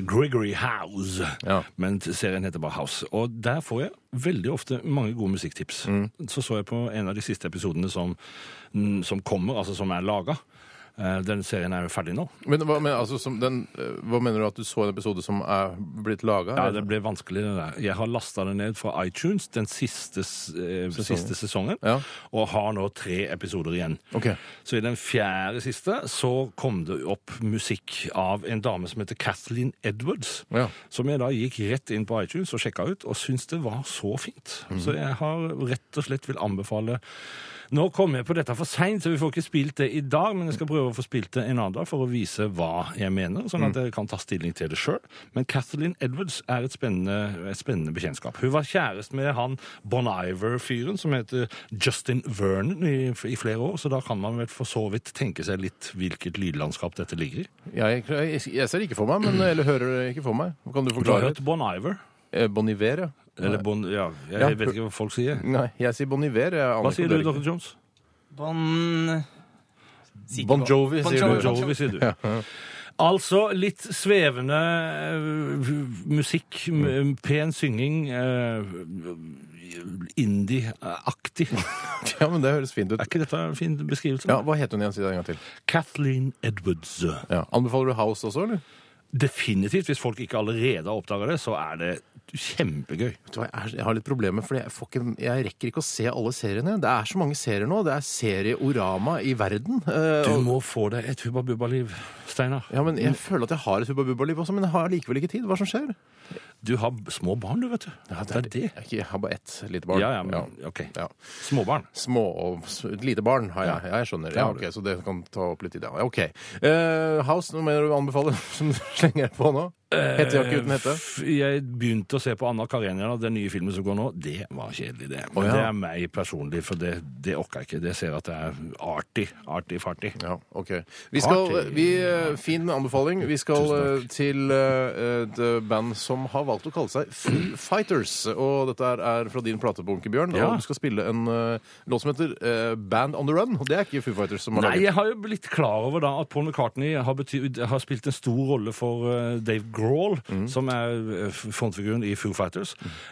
S3: Gregory House.
S2: Ja.
S3: Men serien heter bare House. Og der får jeg veldig ofte mange gode musikktips.
S2: Mm.
S3: Så så jeg på en av de siste episodene som, mm, som kommer, altså som er laga. Den serien er jo ferdig nå.
S2: Men, hva, men altså, som den, eh, hva mener du at du så en episode som er blitt laga?
S3: Ja, det ble vanskelig det der. Jeg har lasta det ned fra iTunes den siste, s- eh, siste sesongen,
S2: Ja.
S3: og har nå tre episoder igjen.
S2: Ok.
S3: Så i den fjerde siste så kom det opp musikk av en dame som heter Kathleen Edwards,
S2: Ja.
S3: som jeg da gikk rett inn på iTunes og sjekka ut, og syntes det var så fint.
S2: Mhm.
S3: Så jeg har rett og slett vil anbefale Nå kom jeg på dette for seint, så vi får ikke spilt det i dag, men jeg skal prøve å få spilt det en annen dag for å vise hva jeg mener, sånn at jeg kan ta stilling til det sjøl. Men Kathleen Edwards er et spennende, et spennende bekjentskap. Hun var kjæreste med han Bon Iver-fyren som heter Justin Vernon i, i flere år, så da kan man vel for så vidt tenke seg litt hvilket lydlandskap dette ligger i.
S2: Jeg, jeg, jeg ser ikke for meg, men, eller hører det ikke for meg. Kan du
S3: Du har
S2: forklare?
S3: hørt Bon Iver?
S2: Eh, Bon Iver, ja.
S3: Eller Bon Ja, jeg
S2: Ja.
S3: vet ikke hva folk sier.
S2: Nei, jeg sier Bon Iver. Jeg aner
S3: Hva
S2: ikke
S3: sier
S2: om
S3: du,
S2: dere-
S3: Dr. Jones?
S4: Bon Sier ikke
S2: Bon
S4: hva-
S2: Jovi, sier
S3: Bon
S2: du.
S3: Jovi, sier du. Altså litt svevende eh, musikk, m- pen synging, eh, indie-aktig. Er
S2: Ja, men Det høres fint ut.
S3: ikke dette en fin beskrivelse?
S2: Ja, Hva het hun igjen? Si det en gang til.
S3: Kathleen Edwards.
S2: Ja. Anbefaler du House også, eller?
S3: Definitivt, hvis folk ikke allerede har oppdaga det, så er det kjempegøy.
S2: Vet du hva, jeg, er, jeg har litt problemer, for jeg, får ikke, jeg rekker ikke å se alle seriene. Det er så mange serier nå. Det er serieorama i verden. eh,
S3: Du
S2: og-
S3: må få deg et Hubba Bubba-liv, Steinar.
S2: ja, men Jeg føler at jeg har et Hubba Bubba-liv også, men jeg har likevel ikke tid. Hva som skjer?
S3: Du har små barn, du, vet du. det er det.
S2: Jeg, ikke- jeg har bare ett lite barn.
S3: Ja, ja, men OK.
S2: Ja.
S3: Småbarn.
S2: Små og s- et lite barn har jeg. Ja, jeg skjønner. Ja, ok, Så det kan ta opp litt tid. Ja, ok. Eh, House, noe mer du anbefaler som du slenger på nå? Hettejakke uten hette?
S3: Eh, F- Jeg begynte å se på Anna Karenina, den nye filmen som går nå. Det var kjedelig, det.
S2: Å,
S3: Men
S2: ja.
S3: det er meg personlig, for det, det orker jeg ikke. Det ser jeg at det er artig. Artig-fartig.
S2: Ja, ok. Vi skal,
S3: Party.
S2: vi, eh, fin anbefaling. Vi skal eh, til eh, et band som har valgt å kalle seg Foo Fighters. Og dette her er fra din platebunke, Bjørn.
S3: Ja.
S2: Og du skal spille en eh, låt som heter eh, Band on the Run. Og det er ikke Foo Fighters som har
S3: Nei,
S2: laget
S3: jeg har jo blitt klar over da at Paul McCartney har, betyd, har spilt en stor rolle for eh, Dave Grohl,
S2: Mm.
S3: som er eh, f- frontfiguren i Foo Fighters.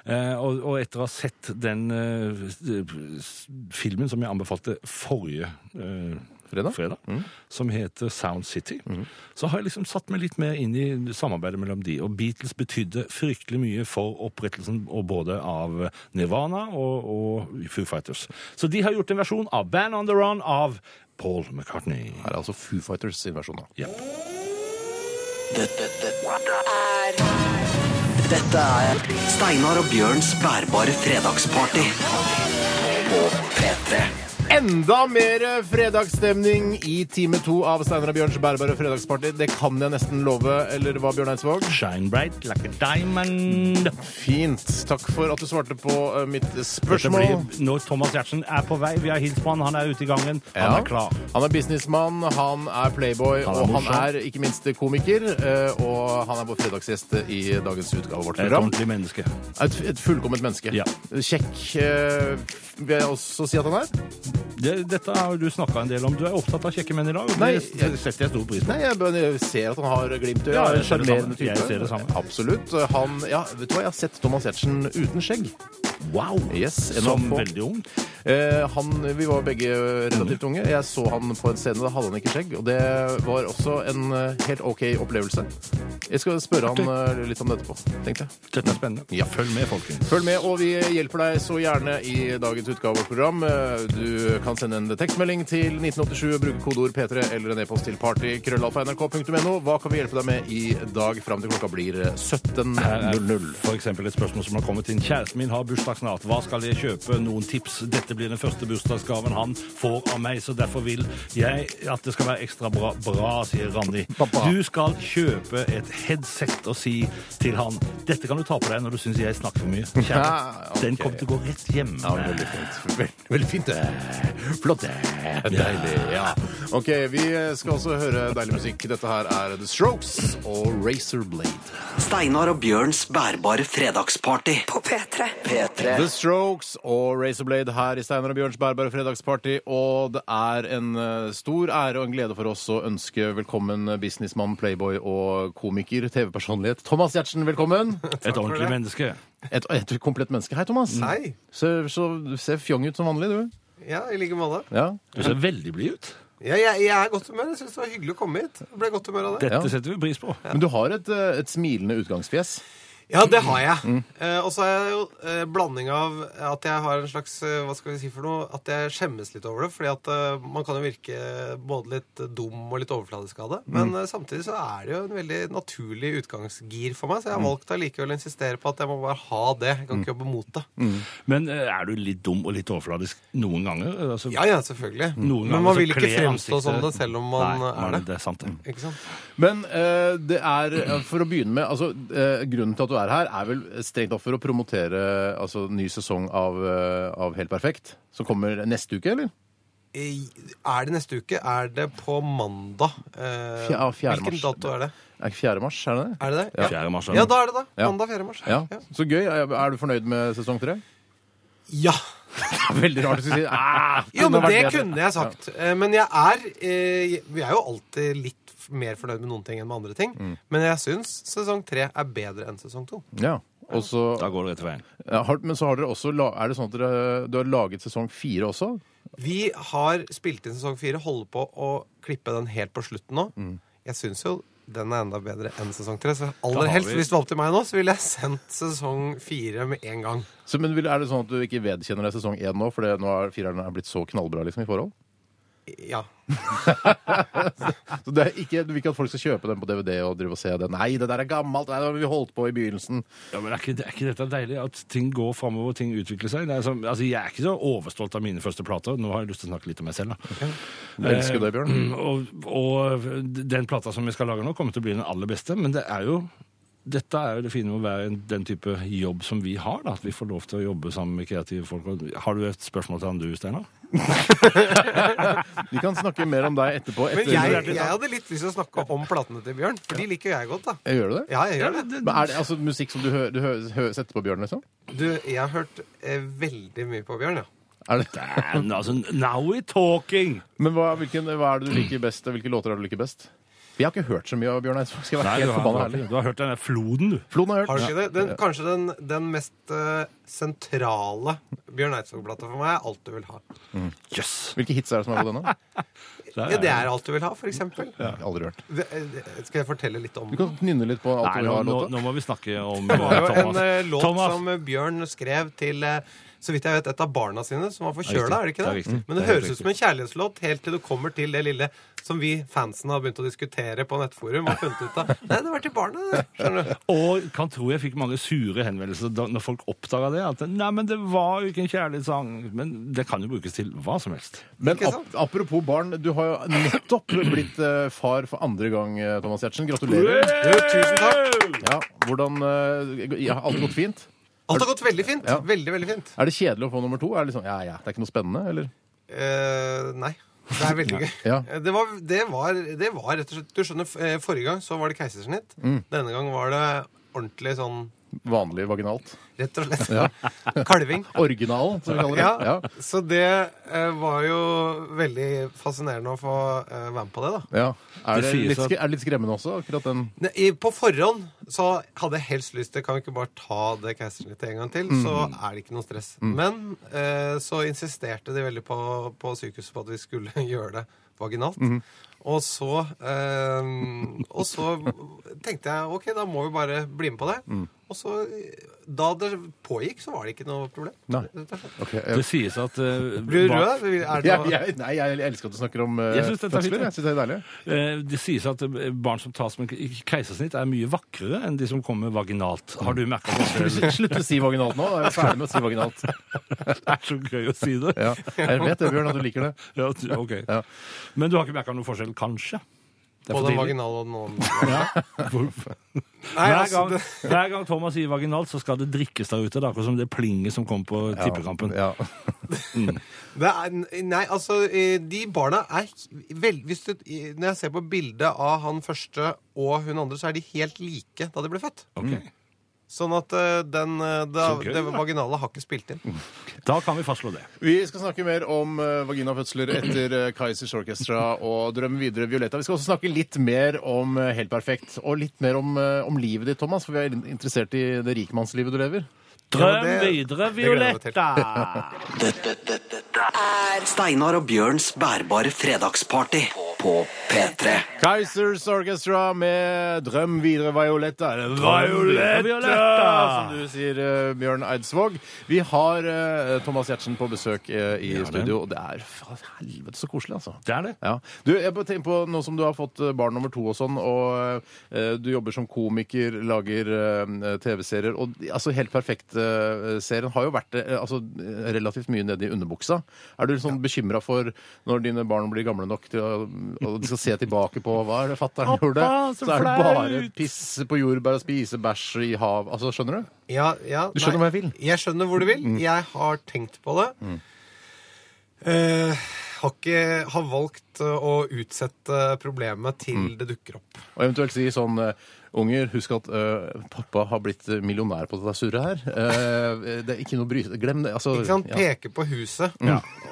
S3: Eh, og, og etter å ha sett den eh, s- s- filmen som jeg anbefalte forrige eh,
S2: Fredag? Mm.
S3: som heter Sound City, så har jeg liksom satt meg litt mer inn i samarbeidet mellom de. Og Beatles betydde fryktelig mye for opprettelsen og både av Nirvana og, og Foo Fighters. Så de har gjort en versjon av Band on the Run av Paul McCartney.
S2: Her er altså Foo Fighters sin versjon. da.
S3: Ja.
S1: Dette, dette,
S5: er
S1: dette er Steinar og Bjørns bærbare fredagsparty på P3.
S2: Enda mer eh, fredagsstemning i time to av Steinar og Bjørns bærbare fredagsparty. Det kan jeg nesten love, eller hva, Bjørn Eidsvåg?
S3: Shine bright like a diamond.
S2: Fint. Takk for at du svarte på eh, mitt
S3: Dette
S2: spørsmål.
S3: blir når Thomas Giertsen er på vei. Vi har hilst på han, han er ute i gangen.
S2: Ja.
S3: Han er klar.
S2: Han er businessmann, han er playboy,
S3: Han er
S2: og han
S3: morsom.
S2: er ikke minst komiker. eh, Og han er vår fredagsgjest i dagens utgave av vårt
S3: Et
S2: program.
S3: ordentlig menneske.
S2: Et, et fullkomment menneske.
S3: Ja.
S2: Kjekk eh, vil jeg også si at han er.
S3: Det, dette har du snakka en del om. Du er opptatt av kjekke menn i dag. og
S2: Nei,
S3: det setter jeg stor pris på.
S2: Nei, jeg, bare- jeg ser at han har glimt i øyet.
S3: Ja,
S2: Han er en
S3: jeg ser det samme.
S2: sjarmerende type.
S3: Jeg ser det samme.
S2: Absolutt. Han, ja, vet du hva, jeg har sett Thomas Giertsen uten skjegg.
S3: Wow!
S2: Yes, en av
S3: Som
S2: få.
S3: veldig ung.
S2: Eh, han, vi var begge relativt unge. Jeg så han på en scene, da hadde han ikke skjegg. Og det var også en eh, helt OK opplevelse. Jeg skal spørre han eh, litt om det etterpå, tenkte jeg.
S3: Dette er spennende.
S2: Ja.
S3: Følg med, folkens.
S2: Følg med, og vi hjelper deg så gjerne i dagens utgave av vårt program. Eh, Du kan sende en tekstmelding til 1987 og bruke kodeord P3 eller en e-post til party.krøllalfa.nrk.no. Hva kan vi hjelpe deg med i dag fram til klokka blir
S3: Her er
S2: 17.00?
S3: for eksempel et spørsmål som har kommet inn. Kjæresten min har bursdag snart. Hva skal jeg kjøpe? Noen tips? Dette blir den første bursdagsgaven han får av meg, så derfor vil jeg at det skal være ekstra bra, bra sier Randi.
S2: Bra.
S3: Du skal kjøpe et headset og si til han dette kan du ta på deg når du syns jeg snakker for mye. Kjære,
S2: Ja, ok.
S3: den kommer til å gå rett hjemme.
S2: Ja, veldig fint. Veldig, veldig fint. det. Flott. det. Deilig. Ja. OK, vi skal også høre deilig musikk. Dette her er The Strokes og Razor Blade.
S1: Steinar og Bjørns bærbare fredagsparty.
S5: På P3.
S1: P3.
S2: The Strokes og Razorblade her i Steinar og Bjørns bærbare fredagsparty. Og det er en eh, stor ære og en glede for oss å ønske velkommen businessmann, playboy og komiker, TV-personlighet Thomas Giertsen. Velkommen.
S3: Et ordentlig menneske.
S2: Et, et komplett menneske. Hei, Thomas.
S6: Hei.
S2: Så, så, du ser fjong ut som vanlig, du.
S6: Ja, i like måte.
S2: Ja.
S3: Du ser veldig blid ut.
S6: Ja, jeg, jeg er i godt humør. Jeg syns det var hyggelig å komme hit. Jeg ble i godt humør av det.
S3: Dette
S2: Ja.
S3: setter vi pris på.
S2: Men du har et, eh, et smilende utgangsfjes.
S6: Ja, det har jeg. Eh, og så er jeg jo eh, blanding av at jeg har en slags eh, Hva skal vi si for noe? At jeg skjemmes litt over det. Fordi at eh, man kan jo virke både litt dum og litt overfladisk av det. Men eh, samtidig så er det jo en veldig naturlig utgangsgir for meg. Så jeg har valgt allikevel å insistere på at jeg må bare ha det. Jeg kan ikke jobbe mot det.
S3: Men eh, er du litt dum og litt overfladisk noen ganger? Altså,
S6: Ja, ja, selvfølgelig.
S3: Noen
S6: Men
S3: ganger
S6: man
S3: så
S6: vil ikke
S3: kler
S6: fremstå som
S3: ansiktet-
S6: det selv om
S3: Nei,
S6: man eh, er det.
S3: Det er sant, det.
S6: Ikke sant?
S2: Men eh, det er, eh, for å begynne med, altså, eh, grunnen til at du er her, er vel strengt tatt for å promotere altså, ny sesong av, eh, av Helt perfekt, som kommer neste uke, eller?
S6: I- Er det neste uke? Er det på mandag? Eh,
S2: Fja- fjerde
S6: hvilken
S2: mars.
S6: dato er det?
S2: Er ikke 4. mars, er det det?
S6: Er det det?
S3: Ja. Fjerde mars, er
S6: ja,
S3: det.
S6: da er det det.
S2: Ja.
S6: Mandag 4. mars.
S2: Ja. Så gøy. Er er du fornøyd med sesong tre?
S6: Ja.
S2: Veldig rart å si. Ah,
S6: Jo, men
S2: har vært
S6: det
S2: bedre.
S6: kunne jeg sagt. Eh, Men jeg er eh, Vi er jo alltid litt f- mer fornøyd med noen ting enn med andre ting. Men jeg syns sesong tre er bedre enn sesong to.
S2: Ja. Og så-
S3: Da går det rett i veien.
S2: ja, har- men så har dere også la- Er det sånn at dere, du har laget sesong fire også?
S6: Vi har spilt inn sesong fire, holder på å klippe den helt på slutten nå. Jeg syns jo den er enda bedre enn sesong tre. Så
S3: Da
S6: aller
S3: har
S6: helst,
S3: vi-
S6: hvis det var opp til meg nå, så ville jeg sendt sesong fire med en gang.
S2: Så, men vil- er det sånn at du ikke vedkjenner deg sesong én nå, for det- nå er fireren er blitt så knallbra liksom, i forhold?
S6: Ja.
S2: Så det er ikke, Du vil ikke at folk skal kjøpe den på DVD og drive og se den? Nei, det der er gammelt! Nei, det har vi holdt på i begynnelsen.
S3: Ja, men er ikke, er ikke dette deilig? At ting går framover, ting utvikler seg? Det er som, altså, jeg er ikke så overstolt av mine første plater. Nå har jeg lyst til å snakke litt om meg selv, da.
S2: Jeg elsker det, Bjørn.
S3: Mm, Og, og eh, den plata som jeg skal lage nå, kommer til å bli den aller beste, men det er jo dette er jo det fine med å være en- den type jobb som vi har, da, at vi får lov til å jobbe sammen med kreative folk. Og Har du et spørsmål til han du, Steinar?
S2: Vi kan snakke mer om deg etterpå. Etter,
S6: Men jeg, jeg hadde litt lyst til å snakke om platene til Bjørn, for de liker jeg godt, da.
S2: jeg gjør du det?
S6: Ja, jeg gjør det.
S2: Men er det altså musikk som du, hø, du hø, hø, setter på, Bjørn, liksom?
S6: Du, jeg har hørt eh, veldig mye på Bjørn, ja.
S2: Er det,
S3: Damn, altså, now we're talking!
S2: Men hva, hvilken, hva er det du liker best? og Hvilke låter er det du liker best? Jeg har ikke hørt så mye av Bjørn Eidsvåg. Skal jeg være
S3: Nei, du,
S2: helt
S3: har,
S2: forbanna ærlig.
S3: du har hørt den der floden, du.
S2: Flon har jeg
S6: Har du
S2: hørt.
S6: ikke det? Den, kanskje den, den mest eh, sentrale Bjørn Eidsvåg-plata for meg er Alt du vil ha.
S3: Jøss! Yes.
S2: Hvilke hits er det som er på denne?
S6: Ja, det er Alt du vil ha, for eksempel.
S2: Aldri hørt.
S6: Det- eh, Skal jeg fortelle litt om
S2: Du kan nynne litt på alt
S3: Nei,
S2: du
S3: nå,
S2: har
S3: nå,
S2: låta.
S3: nå må vi snakke om
S6: Det var jo en
S3: Thomas.
S6: eh, låt
S3: Thomas.
S6: som Bjørn skrev til eh, så vidt jeg vet, et av barna sine som var forkjøla.
S3: riktig.
S6: Er det
S3: Det er
S6: ikke det?
S3: riktig. Det
S6: Men det,
S3: er helt
S6: høres ut
S3: riktig.
S6: som en kjærlighetslåt helt til du kommer til det lille som vi fansen har begynt å diskutere på nettforum og funnet ut av. Nei, det var til barna, det. Skjønner du?
S3: Og kan tro jeg fikk mange sure henvendelser da, når folk oppdaga det. At nei, men det var jo ikke en kjærlighetssang. Men det kan jo brukes til hva som helst.
S2: Men
S6: Ikke
S2: ap apropos barn, du har jo nettopp blitt eh, far for andre gang, eh, Thomas Giertsen. Gratulerer.
S6: tusen takk.
S2: Ja, hvordan eh, ja, Alt gått fint?
S6: Alt har gått veldig fint.
S2: Ja.
S6: Veldig, veldig fint.
S2: Er det kjedelig å få nummer to? Er det liksom, ja, ja, det er ikke noe spennende, eller?
S6: Eh, nei. Det er veldig gøy. Eh,
S2: Ja.
S6: Det, var, det, var, det var rett og slett Du skjønner, f-
S3: Mm.
S6: eh, forrige gang så var det keisersnitt. Denne gang var det ordentlig sånn
S2: Vanlig vaginalt?
S6: rett og slett.
S2: Ja.
S6: Kalving.
S2: Originalen, som vi kaller det.
S6: Ja, så det eh, var jo veldig fascinerende å få eh, være med på det, da.
S2: Ja. Er,
S3: Det
S2: det
S3: sies
S2: litt,
S3: at-
S2: skre- er det litt skremmende også, akkurat den?
S6: Ne- i- På forhånd så hadde jeg helst lyst til Kan vi ikke bare ta det keisersnittet en gang til? Så er det ikke noe stress. Men eh, så insisterte de veldig på, på sykehuset på at vi skulle gjøre det vaginalt. Og så eh, Og så tenkte jeg ok, da må vi bare bli med på det. Og så Da det pågikk, så var det ikke noe problem.
S2: Nei.
S6: Rett og slett.
S2: Ok, ja.
S3: Det sies at eh,
S6: Blir du
S3: barn-
S6: rød? Er det
S2: Ja,
S6: noe?
S2: jeg, nei, jeg elsker at du snakker om eh,
S3: Jeg synes dette er fint,
S2: fødsler.
S3: ja.
S2: Jeg synes det er deilig.
S3: Eh, Det sies at eh, barn som tas med k- keisersnitt, er mye vakrere enn de som kommer vaginalt. Har du merka det selv?
S2: Slutt å si vaginalt nå. Jeg er ferdig med å si vaginalt.
S3: Det er så gøy å si det.
S2: Ja. Jeg vet det, Bjørn, at du liker det.
S3: Ja, du- ok.
S2: Ja.
S3: Men du har ikke merka noen forskjell, kanskje? Det er for
S6: Både
S3: tidlig.
S6: vaginal og noen
S3: Hvor-
S6: Nei,
S3: Hver
S6: altså,
S3: gang,
S6: det,
S3: hver gang Thomas sier vaginalt, så skal det drikkes der ute. Det er akkurat som det plinget som kom på tippekampen.
S2: Ja.
S6: Det er, nei, altså, eh, de barna er vel, hvis du, i- Når jeg ser på bildet av han første og hun andre, så er de helt like da de ble født.
S3: Ok.
S6: Sånn at eh, den, eh, da,
S3: Så gøy,
S6: det
S3: da.
S6: vaginale har ikke spilt inn.
S2: Mm.
S3: Da kan vi fastslå det.
S2: Vi skal snakke mer om eh, vaginafødsler etter eh, Kaizers Orchestra og Drøm videre, Violetta. Vi skal også snakke litt mer om eh, Helt perfekt, og litt mer om, eh, om livet ditt, Thomas, for vi er interessert i det rikmannslivet du lever.
S3: Drøm
S6: Ja, det-
S3: videre,
S6: det gleder jeg meg til.
S3: Violetta!
S1: Dette, dette, dette er Steinar og Bjørns bærbare fredagsparty på P3.
S2: Kaizers Orchestra med Drøm videre, Violetta. Eller
S3: videre, Violetta!
S2: som du sier, eh, Bjørn Eidsvåg. Vi har eh, Thomas Giertsen på besøk eh, i
S3: det.
S2: studio, og det er faen, helvete så koselig, altså.
S3: Det er det.
S2: Ja. Du, jeg bare tenker på Nå som du har fått eh, barn nummer to og sånn, og eh, du jobber som komiker, lager eh, TV-serier og de- altså Helt perfekt-serien har jo vært eh, altså, eh, relativt mye nede i underbuksa. Er du litt sånn bekymra for når dine barn blir gamle nok til å, og de skal se tilbake på hva er det fatter'n gjorde?
S3: så
S2: Så er det
S3: flaut!
S2: bare pisse på jordbær og spise bæsj i hav. Altså, skjønner du?
S6: Ja, ja,
S2: Du skjønner hva jeg vil? Mm.
S6: Jeg skjønner hvor du vil. Jeg har tenkt på det. Eh, har, ikke, har valgt eh, å utsette problemet til
S2: Mm.
S6: det dukker opp.
S2: Og eventuelt si sånn eh, Unger, husk at eh, pappa har blitt millionær på dette surret her. Eh, det er ikke noe bry... Glem det. Altså,
S6: Ikke sant?
S2: ja.
S6: Peke på huset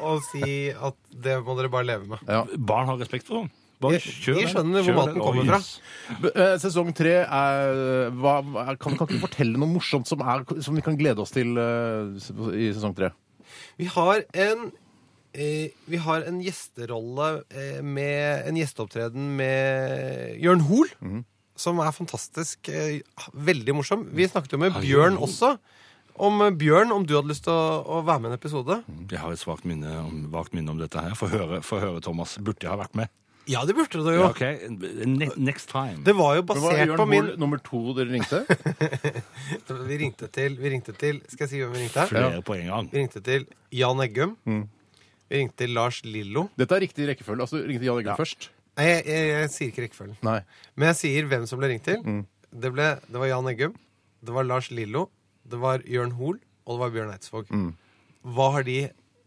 S6: og si at det må dere bare leve med.
S3: Barn har respekt for henne. Bare
S6: De-
S3: kjør
S6: de
S3: den.
S6: skjønner hvor
S3: Kjør
S6: maten
S3: den.
S6: kommer
S3: Oi,
S6: fra.
S3: yes.
S2: Eh, Sesong tre er eh, hva, hva- kan, kan ikke du fortelle noe morsomt som, er, som vi kan glede oss til eh, i sesong tre?
S6: Vi har en eh, Vi har en gjesterolle eh, med En gjesteopptreden med Jørn Hoel.
S2: Mhm.
S6: Som er fantastisk. Eh, veldig morsom. Vi
S2: Mhm.
S6: snakket jo med Bjørn også. Om eh, Bjørn, om du hadde lyst til å, å være med i en episode?
S2: Mhm.
S3: Jeg har et svakt minne, om- vagt minne om dette her. Få høre, få høre, Thomas. Burde jeg ha vært med?
S6: Ja, det burde du
S3: Ja,
S6: jo.
S3: ok, ne next time.
S6: Det var jo
S2: Det var
S6: basert
S2: Jørn
S6: på min
S2: Hoel nummer to dere ringte.
S6: vi ringte, til, vi ringte til Skal jeg si hvem vi ringte? her?
S3: Flere på en gang.
S6: Vi ringte til Jan Eggum.
S2: Mhm.
S6: Vi ringte til Lars Lillo.
S2: Dette er riktig rekkefølge. Altså, du ringte Jan Eggen først?
S6: Nei, jeg, jeg, jeg sier ikke rekkefølgen.
S2: Nei.
S6: Men jeg sier hvem som ble ringt til.
S3: Mm.
S6: Det, ble, det var Jan Eggum, det var Lars Lillo, det var Jørn Hoel, og det var Bjørn Eidsvåg.
S3: Mm.
S6: Hva har de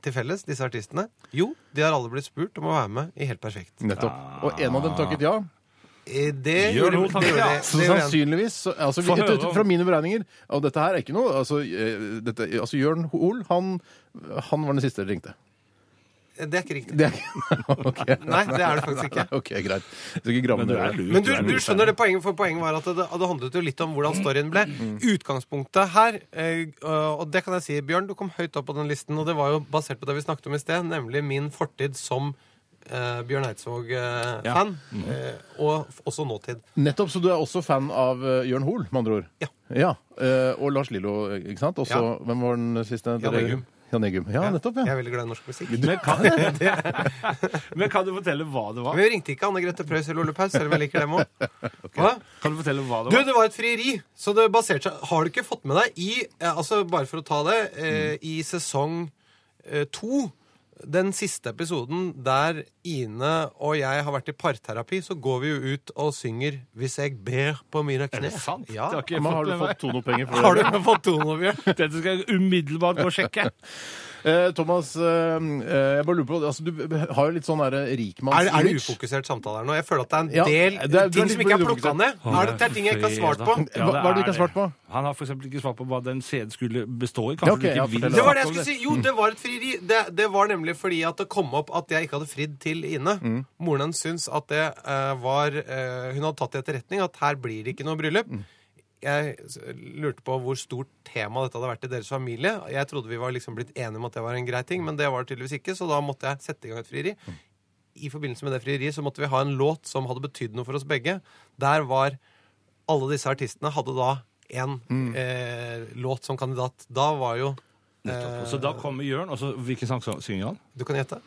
S6: til felles, disse artistene? Jo, de har alle blitt spurt om å være med i Helt perfekt.
S2: Nettopp. Og en av dem takket ja.
S6: Eh, Det
S3: Jørn
S6: gjorde
S3: Hoel takket
S6: det gjorde-
S3: ja.
S6: det
S2: Så
S6: gjorde en.
S2: sannsynligvis så- altså, vi,
S3: Få høre
S2: ut, ut fra mine beregninger Og dette her er ikke noe Altså, eh, dette, altså Jørn Hoel, han, han var den siste dere ringte.
S6: Det er ikke riktig.
S2: Det er ikke ok.
S6: Nei, det er det faktisk ikke.
S2: OK, greit. Jeg skal ikke gramme
S3: Men du er
S2: dere.
S3: lur.
S6: Men du,
S3: er
S6: du
S3: lur.
S6: skjønner det poenget, for poenget var at det, det handlet jo litt om hvordan storyen ble.
S2: Mm.
S6: Utgangspunktet her, eh, og det kan jeg si, Bjørn, du kom høyt opp på den listen, og det var jo basert på det vi snakket om i sted, nemlig min fortid som eh, Bjørn
S3: Ja.
S6: Eidsvåg-fan,
S2: Mm.
S6: eh, og f- også nåtid.
S2: Nettopp, så du er også fan av eh, Jørn Hoel, med andre ord?
S6: Ja.
S2: eh, og Lars Lillo, ikke sant? Også,
S6: Ja.
S2: Hvem var den siste?
S6: Jan
S2: Dere-
S6: Eggum.
S2: Jan Eggum. Ja, nettopp,
S6: Jeg
S2: ja.
S6: er veldig glad i norsk musikk.
S3: Men kan, men kan du fortelle hva det var?
S6: Men vi ringte ikke Anne Grete Preus eller Ole Paus, selv om jeg liker dem òg.
S3: Kan du fortelle hva det
S6: Du,
S3: var?
S6: det var et frieri, så det baserte seg Har du ikke fått med deg i eh, Altså, bare for å ta det, eh, i sesong eh, to den siste episoden der Ine og jeg har vært i parterapi, så går vi jo ut og synger 'Hvis jeg ber på mine
S3: Er
S6: kne'.
S3: det sant?
S6: Ja.
S3: Det har ikke jeg
S2: Men har du
S3: fått med
S2: fått
S3: meg.
S2: tonopenger for
S6: Har
S2: det?
S6: du fått tonen, Bjørn?
S3: Dette skal jeg umiddelbart gå og sjekke.
S2: Eh, Thomas, eh, eh, jeg bare lurer på altså, Du har jo litt sånn derre
S6: Er, er det
S2: rikmanns-image.
S6: ufokusert samtale her nå? Jeg føler at det
S2: Ja,
S6: er en del
S2: det er- du er
S6: ting
S2: litt
S6: som ikke er
S2: blitt
S6: plukka
S2: ufokusert.
S6: ned. Da er det det er ting jeg ikke har svart på.
S3: Ja,
S2: Hva- hva er det du ikke har svart på?
S3: Han har for eksempel ikke svart på hva den CD skulle bestå
S2: Ja,
S3: i. Kanskje
S2: ok, ja,
S3: du ikke
S2: fortell
S3: vil
S2: det.
S6: Det
S3: snakke
S6: var det jeg
S3: om det.
S6: skulle si. Jo, det var et frieri. Det, det var nemlig fordi at det kom opp at jeg ikke hadde fridd til Ine.
S3: Mm.
S6: Moren hennes syns at det eh, var eh, Hun hadde tatt til etterretning at her blir det ikke noe bryllup.
S3: Mm.
S6: Jeg s- lurte på hvor stort tema dette hadde vært i deres familie. Jeg trodde vi var liksom blitt enige om at det var en grei ting, men det var det tydeligvis ikke, så da måtte jeg sette i gang et frieri.
S3: Mm.
S6: I forbindelse med det frieriet så måtte vi ha en låt som hadde betydd noe for oss begge. Der var alle disse artistene hadde da en
S3: Mm.
S6: eh, låt som kandidat. Da var jo
S3: Så da kommer Jørn, og så hvilken sang så- synger han?
S6: Du kan gjette.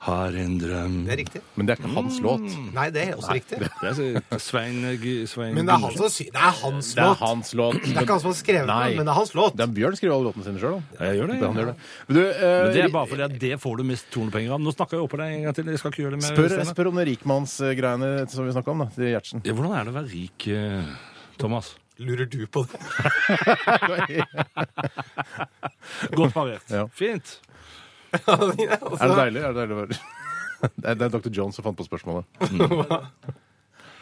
S3: Har en drøm
S6: Det er riktig.
S2: Men det er ikke hans låt.
S6: Mm. Nei, det er også riktig.
S3: Det er Svein, G- Svein
S6: Men det er, han som sy det er hans
S2: Det er
S6: låt.
S2: hans låt.
S6: Det er ikke han som har skrevet
S2: Nei.
S6: den, men det er hans låt.
S2: Det er Bjørn skriver alle låtene sine sjøl, da.
S3: Ja, jeg gjør det.
S2: Han
S3: Ja.
S2: gjør det. Men du, eh,
S3: Men det er bare fordi at det får du mest tornepenger av. Nå snakker jeg oppå deg en gang til. Jeg skal ikke gjøre det med
S2: spør,
S3: Steinar.
S2: spør om det rikmannsgreiene som vi snakka om, da, til Gjertsen.
S3: Ja, hvordan er det å være rik, eh, Thomas?
S6: Lurer du på det?
S3: Godt parert.
S2: Ja.
S3: Fint.
S2: Er det deilig? Er det, deilig? å være- Mm. det, er, det er Dr. Jones som fant på spørsmålet.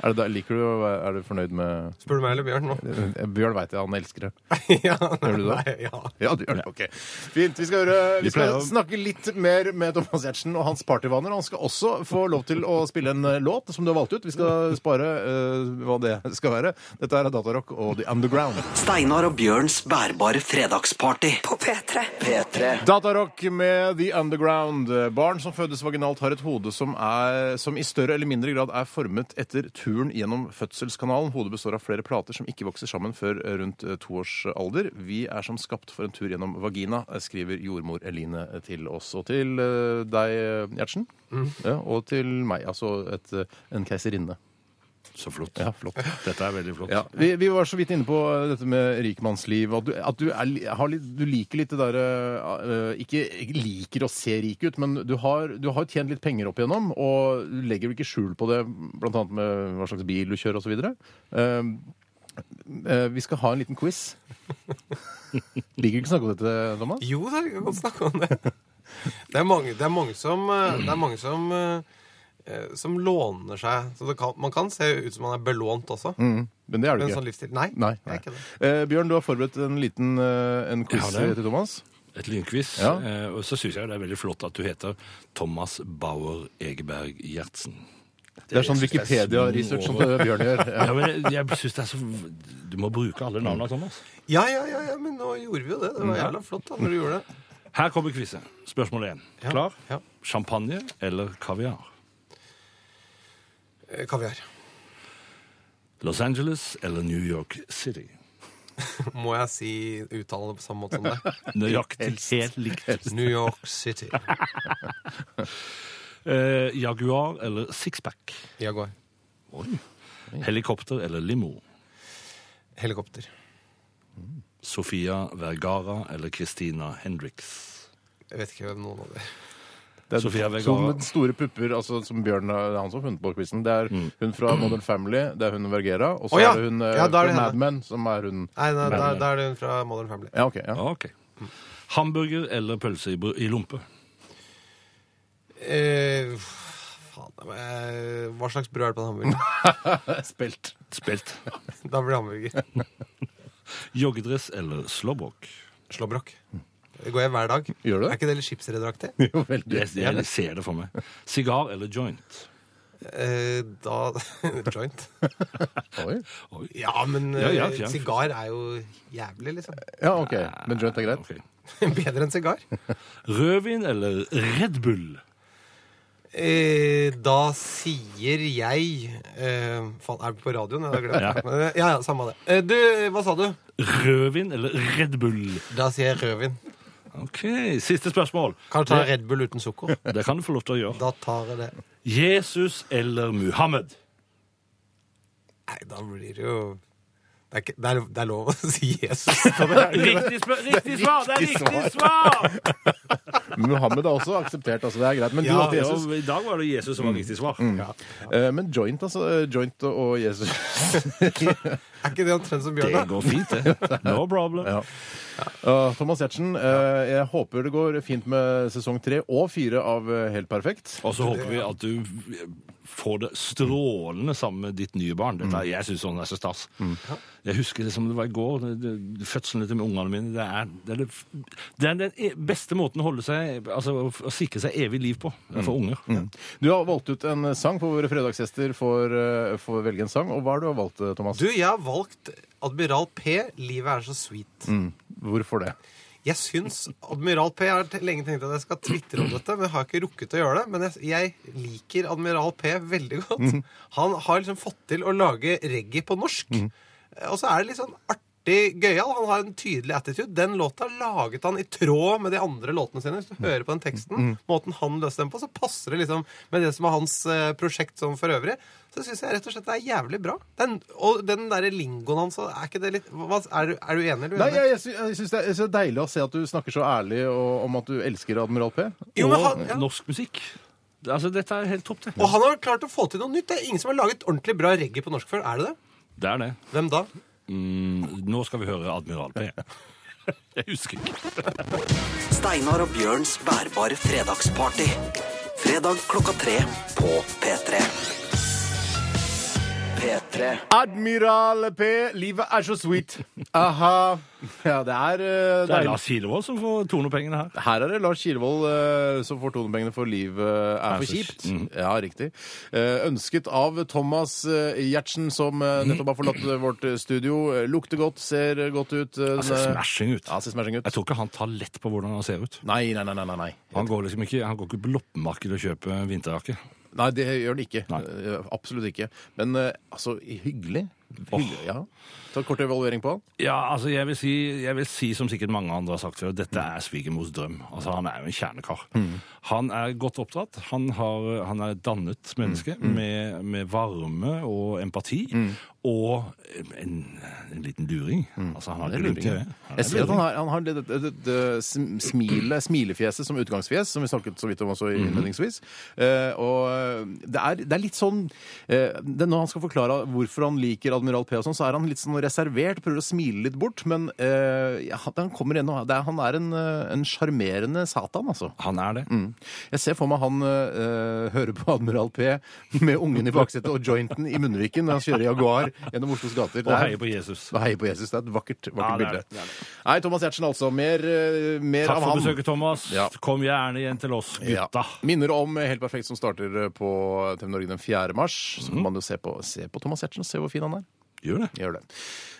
S2: Er det, deil- liker du, å være- er du fornøyd med
S6: Spør du meg eller Bjørn nå?
S2: Bjørn veit jeg, han elsker det.
S6: ja,
S2: Gjør du det?
S6: Nei, ja.
S2: Ja, du gjør det. Ok. Fint. Vi skal, høre, vi
S3: Vi
S2: skal
S3: pleier å-
S2: snakke litt mer med Thomas Giertsen og hans partyvaner. Han skal også få lov til å spille en eh, låt som du har valgt ut. Vi skal spare eh, hva det skal være. Dette er Datarock og The Underground.
S1: Steinar og Bjørns bærbare fredagsparty.
S5: På P3.
S1: P3.
S2: Datarock med The Underground. Barn som fødes vaginalt, har et hode som, er, som i større eller mindre grad er formet etter turen gjennom fødselskanalen. Hodet består av flere plater som ikke vokser sammen før rundt eh, to års alder. Vi er som skapt for en tur gjennom vagina, eh, skriver jordmor Eline til oss. Og til eh, deg, Gjertsen. Ja, og til meg. Altså et, eh, en keiserinne.
S3: Så flott.
S2: Ja, flott.
S3: Dette er veldig flott.
S2: Ja, vi, vi var så vidt inne på dette med rikmannsliv. At du, at du, er, li- har litt, du liker litt det derre eh, Ikke liker å se rik ut, men du har, du har tjent litt penger opp igjennom, og du legger vel ikke skjul på det, bl.a. med hva slags bil du kjører osv. Uh, Eh, vi skal ha en liten quiz. Liker du ikke å snakke om dette, Thomas?
S6: Jo da, vi kan godt snakke om det. Det er mange, det er mange som, eh, det er mange som eh, som låner seg. Så det kan, man kan se ut som man er belånt også.
S2: Men det er du
S6: Med en
S2: ikke.
S6: sånn livsstil. Mm, Nei,
S2: Nei,
S6: jeg
S2: nei.
S6: er ikke det.
S2: Eh, Bjørn, du har forberedt en liten eh, en quiz
S3: Jeg har det.
S2: til Thomas.
S3: Et lynquiz.
S2: Ja.
S3: Eh, og så syns jeg det er veldig flott at du heter Thomas Bauer Egeberg Gjertsen.
S2: Det er sånn
S3: jeg synes det er
S2: Wikipedia-research som eh, Bjørn gjør. Ja.
S3: Ja, men jeg, jeg synes det er så Du må bruke alle
S2: Mm.
S3: navnene, Thomas.
S6: Ja, ja, ja, ja, men nå gjorde vi jo det. Det var jævla flott da, når du gjorde det.
S3: Her kommer quizet. Spørsmål én.
S6: Ja,
S3: Klar?
S6: ja.
S3: Champagne eller kaviar?
S6: Eh, Kaviar.
S3: Los Angeles eller New York City?
S6: Må jeg si uttalene på samme måte som deg?
S3: Nøyaktig helt likt.
S6: New York City.
S3: Eh, Jaguar eller sixpack?
S6: Jaguar.
S3: Helikopter eller limo?
S6: Helikopter.
S3: Sofia Vergara eller Christina Hendricks?
S6: Jeg vet ikke hvem noen av dere
S2: Det er
S3: Sofia Vergara.
S2: to med store pupper, altså, som Bjørn det er han som har funnet på quizen. Det er
S3: Mm.
S2: hun fra Modern Family, det er hun Vergera, og så
S6: Å, ja.
S2: er det hun eh,
S6: Ja, da er det
S2: fra
S6: henne.
S2: Mad Men, som er hun
S6: Nei, nei da, da er det hun fra Modern Family.
S2: Ja, OK. Ja.
S3: Ah, Ok. Hamburger eller pølse i, br- i lompe?
S6: Eh, faen, da må jeg- hva slags brød er det på en hamburger?
S2: Spilt.
S3: Spilt.
S6: da blir det hamburger.
S3: Joggedress eller slåbrok?
S6: Slåbrok. Det går jeg hver dag.
S2: Gjør du det?
S6: Er ikke det litt skipsrederaktig?
S2: Jo, veldig.
S3: Jeg, jeg ser det for meg. Sigar eller joint?
S6: Eh, da Joint.
S2: Oi.
S3: Oi.
S6: Ja, men
S3: Ja, ja,
S6: eh,
S3: ja.
S6: sigar er jo jævlig, liksom.
S2: Ja, OK. Men joint er greit?
S3: Ok.
S6: Bedre enn sigar.
S3: Rødvin eller Red Bull?
S6: Eh, da sier jeg eh, Faen, er vi på radioen? Jeg har glemt. Men, eh, Ja, ja, samme det. Eh, du, hva sa du?
S3: Rødvin eller Red Bull?
S6: Da sier jeg rødvin.
S3: Ok, Siste spørsmål.
S6: Kan du ta Red Bull uten sukker?
S3: Det kan du få lov til å gjøre.
S6: Da tar jeg det.
S3: Jesus eller Muhammed?
S6: Nei, da blir det jo Det er, ikke, det, er, det er lov å si Jesus.
S3: Riktig, spør- riktig svar! Det er riktig svar!
S2: Muhammed er også akseptert, altså. Det er greit. Men du
S6: Ja,
S2: valgte Jesus.
S3: Ja, I dag var det Jesus som var riktig svar. Ja.
S2: Eh, Men joint, altså. eh, Joint og Jesus.
S6: Er ikke det omtrent som Bjørn?
S3: Det
S6: da?
S3: går fint, det. No problem.
S2: Ja. Eh, Thomas Giertsen, eh, jeg håper det går fint med sesong tre og fire av eh, Helt perfekt.
S3: Og så håper vi at du får det strålende sammen med ditt nye barn. Dette, er- Jeg syns sånn er så stas. Jeg husker det som det var i går. det- det- Fødselen til ungene mine. Det er, det, er det, f- det er den e- beste måten å holde seg Altså å, f- å sikre seg evig liv på. Det er for unger.
S2: Du har valgt ut en sang for våre fredagsgjester får, eh, får velge en sang. Og hva har du valgt, eh, Thomas?
S6: Du, jeg har valgt Admiral P. Livet er så sweet.
S2: Hvorfor det?
S6: Jeg syns Admiral P. Jeg har te- lenge tenkt at jeg skal tvitre om dette, men jeg har ikke rukket å gjøre det. Men jeg, jeg liker Admiral P veldig
S2: Mhm.
S6: godt. Han har liksom fått til å lage reggae på norsk.
S2: Mhm.
S6: Eh, Og så er det litt sånn artig gøyal. Han har en tydelig attitude. Den låta laget han i tråd med de andre låtene sine. Hvis du
S2: Mhm.
S6: hører på den teksten, måten han løste den på, så passer det liksom med det som er hans eh, prosjekt som for øvrig. Så syns jeg rett og slett det er jævlig bra. Den, og den derre lingoen hans, så er ikke det litt hva, er, du, er du enig eller uenig?
S2: Nei, jeg, jeg, sy- jeg syns det er så deilig å se at du snakker så ærlig og, om at du elsker Admiral P.
S6: Jo, men han,
S3: Og
S6: ja.
S3: norsk musikk. Altså, dette er helt topp, det.
S6: Og han har klart å få til noe nytt. Det er ingen som har laget ordentlig bra reggae på norsk før. Er det det?
S3: Det er det. Mm,
S6: Hvem da?
S3: Nå skal vi høre Admiral P. Jeg husker ikke.
S1: Steinar og Bjørns bærbare fredagsparty. Fredag klokka tre på P3. P3.
S2: Admiral P, livet er så sweet. Aha. Ja, det er eh,
S3: Det er
S2: deilig.
S3: Lars Kilevold som får tornepengene her.
S2: Her er det Lars Kilevold eh, som får tonepengene for 'Livet er
S3: Er
S2: for
S3: så
S2: kjipt'.
S3: kjipt. Mm.
S2: Ja, riktig. Eh, ønsket av Thomas eh, Giertsen, som eh,
S3: Mm.
S2: nettopp har forlatt eh, vårt eh, studio. Eh, Lukter godt, ser eh, godt ut. eh,
S3: Altså,
S2: den, eh,
S3: smashing ut.
S2: Ja, ser smashing ut.
S3: Jeg tror ikke han tar lett på hvordan han ser ut.
S2: Nei, nei, nei. nei, nei, nei.
S3: Han går liksom ikke, han går ikke på loppemarkedet og kjøper vinterjakke.
S2: Nei, det gjør det ikke.
S3: Nei.
S2: Eh, Absolutt ikke. Men eh, altså, hyggelig. hyggelig ja. Ta en kort evaluering på han.
S3: Ja, altså jeg vil, si, jeg vil si, som sikkert mange andre har sagt før, dette er svigermors drøm. Altså Han er jo en kjernekar. Han er godt oppdratt. Han, har, han er et dannet menneske Med, med varme og empati. Og en, en liten luring. Altså Han har ikke lurt til det. Han er
S2: Jeg ser at han
S3: luring.
S2: har, han har det, det, det, det sm- smilet, smilefjeset som utgangsfjes, som vi snakket så vidt om også innledningsvis. Eh, og eh, det er, det er litt sånn eh, det, Når han skal forklare hvorfor han liker Admiral P, og sånn, så er han litt sånn reservert, prøver å smile litt bort, men eh, ja, han kommer igjen og det er, Han er en, eh, en sjarmerende satan, altså.
S3: han Mm. er det.
S2: Jeg ser for meg han eh, hører på Admiral P med ungen i baksetet og jointen i munnviken når han kjører Jaguar gjennom Oslos gater. Det
S3: Og
S2: er-
S3: heier på Jesus.
S2: og heier på Jesus. Det er et vakkert, vakkert
S3: Ja, det er
S2: bilde.
S3: det. Det er
S2: Nei, Thomas Giertsen altså. Mer, eh, mer
S3: Takk
S2: av
S3: for
S2: ham.
S3: besøket, Thomas.
S2: Ja.
S3: Kom gjerne igjen til oss,
S2: Ja.
S3: gutta.
S2: Minner om Helt perfekt som starter eh, på TV Norge den 4. mars. Så
S3: Mhm.
S2: kan man jo se på, se på Thomas Giertsen og se hvor fin han er.
S3: Gjør det.
S2: Gjør det.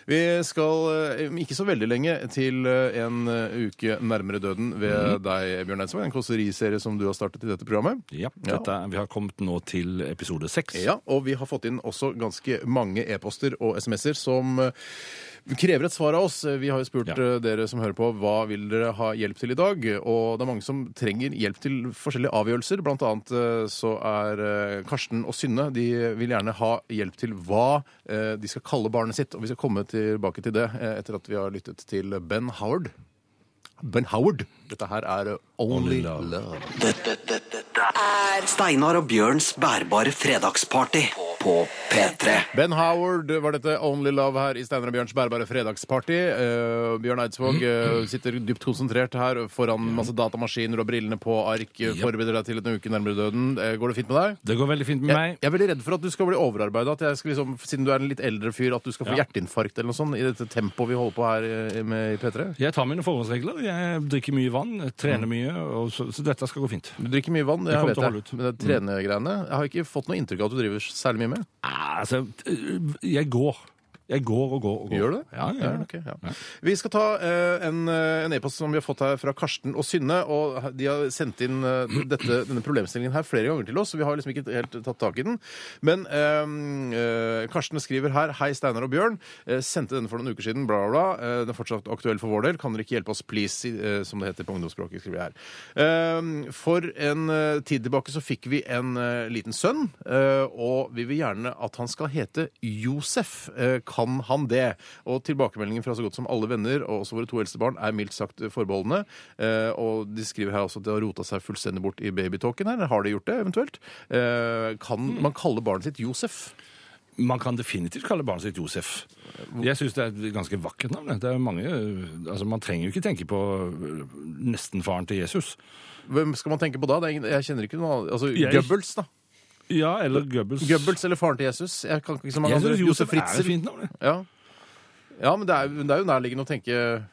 S2: Vi skal eh, om ikke så veldig lenge til eh, en eh, uke nærmere døden
S3: Mhm.
S2: ved deg, Bjørn Eidsvåg. En kåseriserie som du har startet i dette programmet.
S3: Ja, dette, er- Vi har kommet nå til episode seks.
S2: Ja, og vi har fått inn også ganske mange e-poster og SMS-er som eh, krever et svar av oss. Vi har jo spurt
S3: Ja.
S2: eh, dere som hører på, hva vil dere ha hjelp til i dag? Og det er mange som trenger hjelp til forskjellige avgjørelser. Blant annet eh, så er eh, Karsten og Synne, de vil gjerne ha hjelp til hva eh, de skal kalle barnet sitt. Og vi skal komme tilbake til det eh, etter at vi har lyttet til Ben Howard. Ben Howard. Dette her er eh, Only,
S3: Only Love.
S2: love.
S1: Dette, dette, dette er Steinar og Bjørns bærbare fredagsparty på P3.
S2: Ben Howard var dette Only Love her i Steinar og Bjørns bærbare fredagsparty. Eh, Bjørn Eidsvåg
S3: Mm.
S2: eh, sitter dypt konsentrert her foran masse datamaskiner og brillene på ark. eh, Forbereder deg til en uke nærmere døden. Eh, går det fint med deg?
S3: Det går veldig fint med
S2: Jeg,
S3: meg.
S2: jeg er veldig redd for at du skal bli overarbeida, at jeg skal liksom, siden du er en litt eldre fyr, at du skal få
S3: Ja.
S2: hjerteinfarkt eller noe sånt i dette tempoet vi holder på her eh, med i P3.
S3: Jeg tar mine forholdsregler. Jeg drikker mye vann, jeg
S2: Mm.
S3: trener mye, og så, så dette skal gå fint.
S2: Du drikker mye vann,
S3: Jeg
S2: jeg
S3: kommer
S2: vet
S3: til å
S2: det.
S3: holde ut. Mm.
S2: Men det er trenegreiene Jeg har ikke fått noe inntrykk av at du driver særlig mye med.
S3: Ah, Altså, jeg går. Jeg går og går og går.
S2: Gjør du det?
S3: Ja, jeg gjør det.
S2: ok, ja. Vi skal ta eh, en eh, en e-post som vi har fått her fra Karsten og Synne. og De har sendt inn eh, dette, denne problemstillingen her flere ganger til oss. så Vi har liksom ikke helt tatt tak i den. Men eh, eh, Karsten skriver her Hei, Steinar og Bjørn. Eh, sendte denne for noen uker siden. Bla, bla, bla. Eh, den er fortsatt aktuell for vår del. Kan dere ikke hjelpe oss, please, si- eh, som det heter på ungdomsspråket, skriver jeg her. Eh, for en eh, tid tilbake så fikk vi en eh, liten sønn, eh, og vi vil gjerne at han skal hete Josef. Eh, kan han det? Og tilbakemeldingen fra så godt som alle venner, og også våre to eldste barn, er mildt sagt forbeholdne. Eh, og de skriver her også at det har rota seg fullstendig bort i babytalken her. Har de gjort det, eventuelt? Eh, kan
S3: Mm.
S2: man kalle barnet sitt Josef?
S3: Man kan definitivt kalle barnet sitt Josef. Jeg syns det er et ganske vakkert navn. det. Det er mange, øh, altså Man trenger jo ikke tenke på øh, nestenfaren til Jesus.
S2: Hvem skal man tenke på da? Det er ingen, jeg kjenner ikke noen annen. Altså,
S3: Jeg-
S2: Goebbels, da.
S3: Ja, eller Goebbels.
S2: Goebbels eller faren til Jesus. Jeg kan ikke så mange
S3: Jeg
S2: andre.
S3: synes
S2: Josef
S3: Josef er et
S2: Ritzel.
S3: fint navn. det.
S2: Ja. ja, men det er, det er jo nærliggende å tenke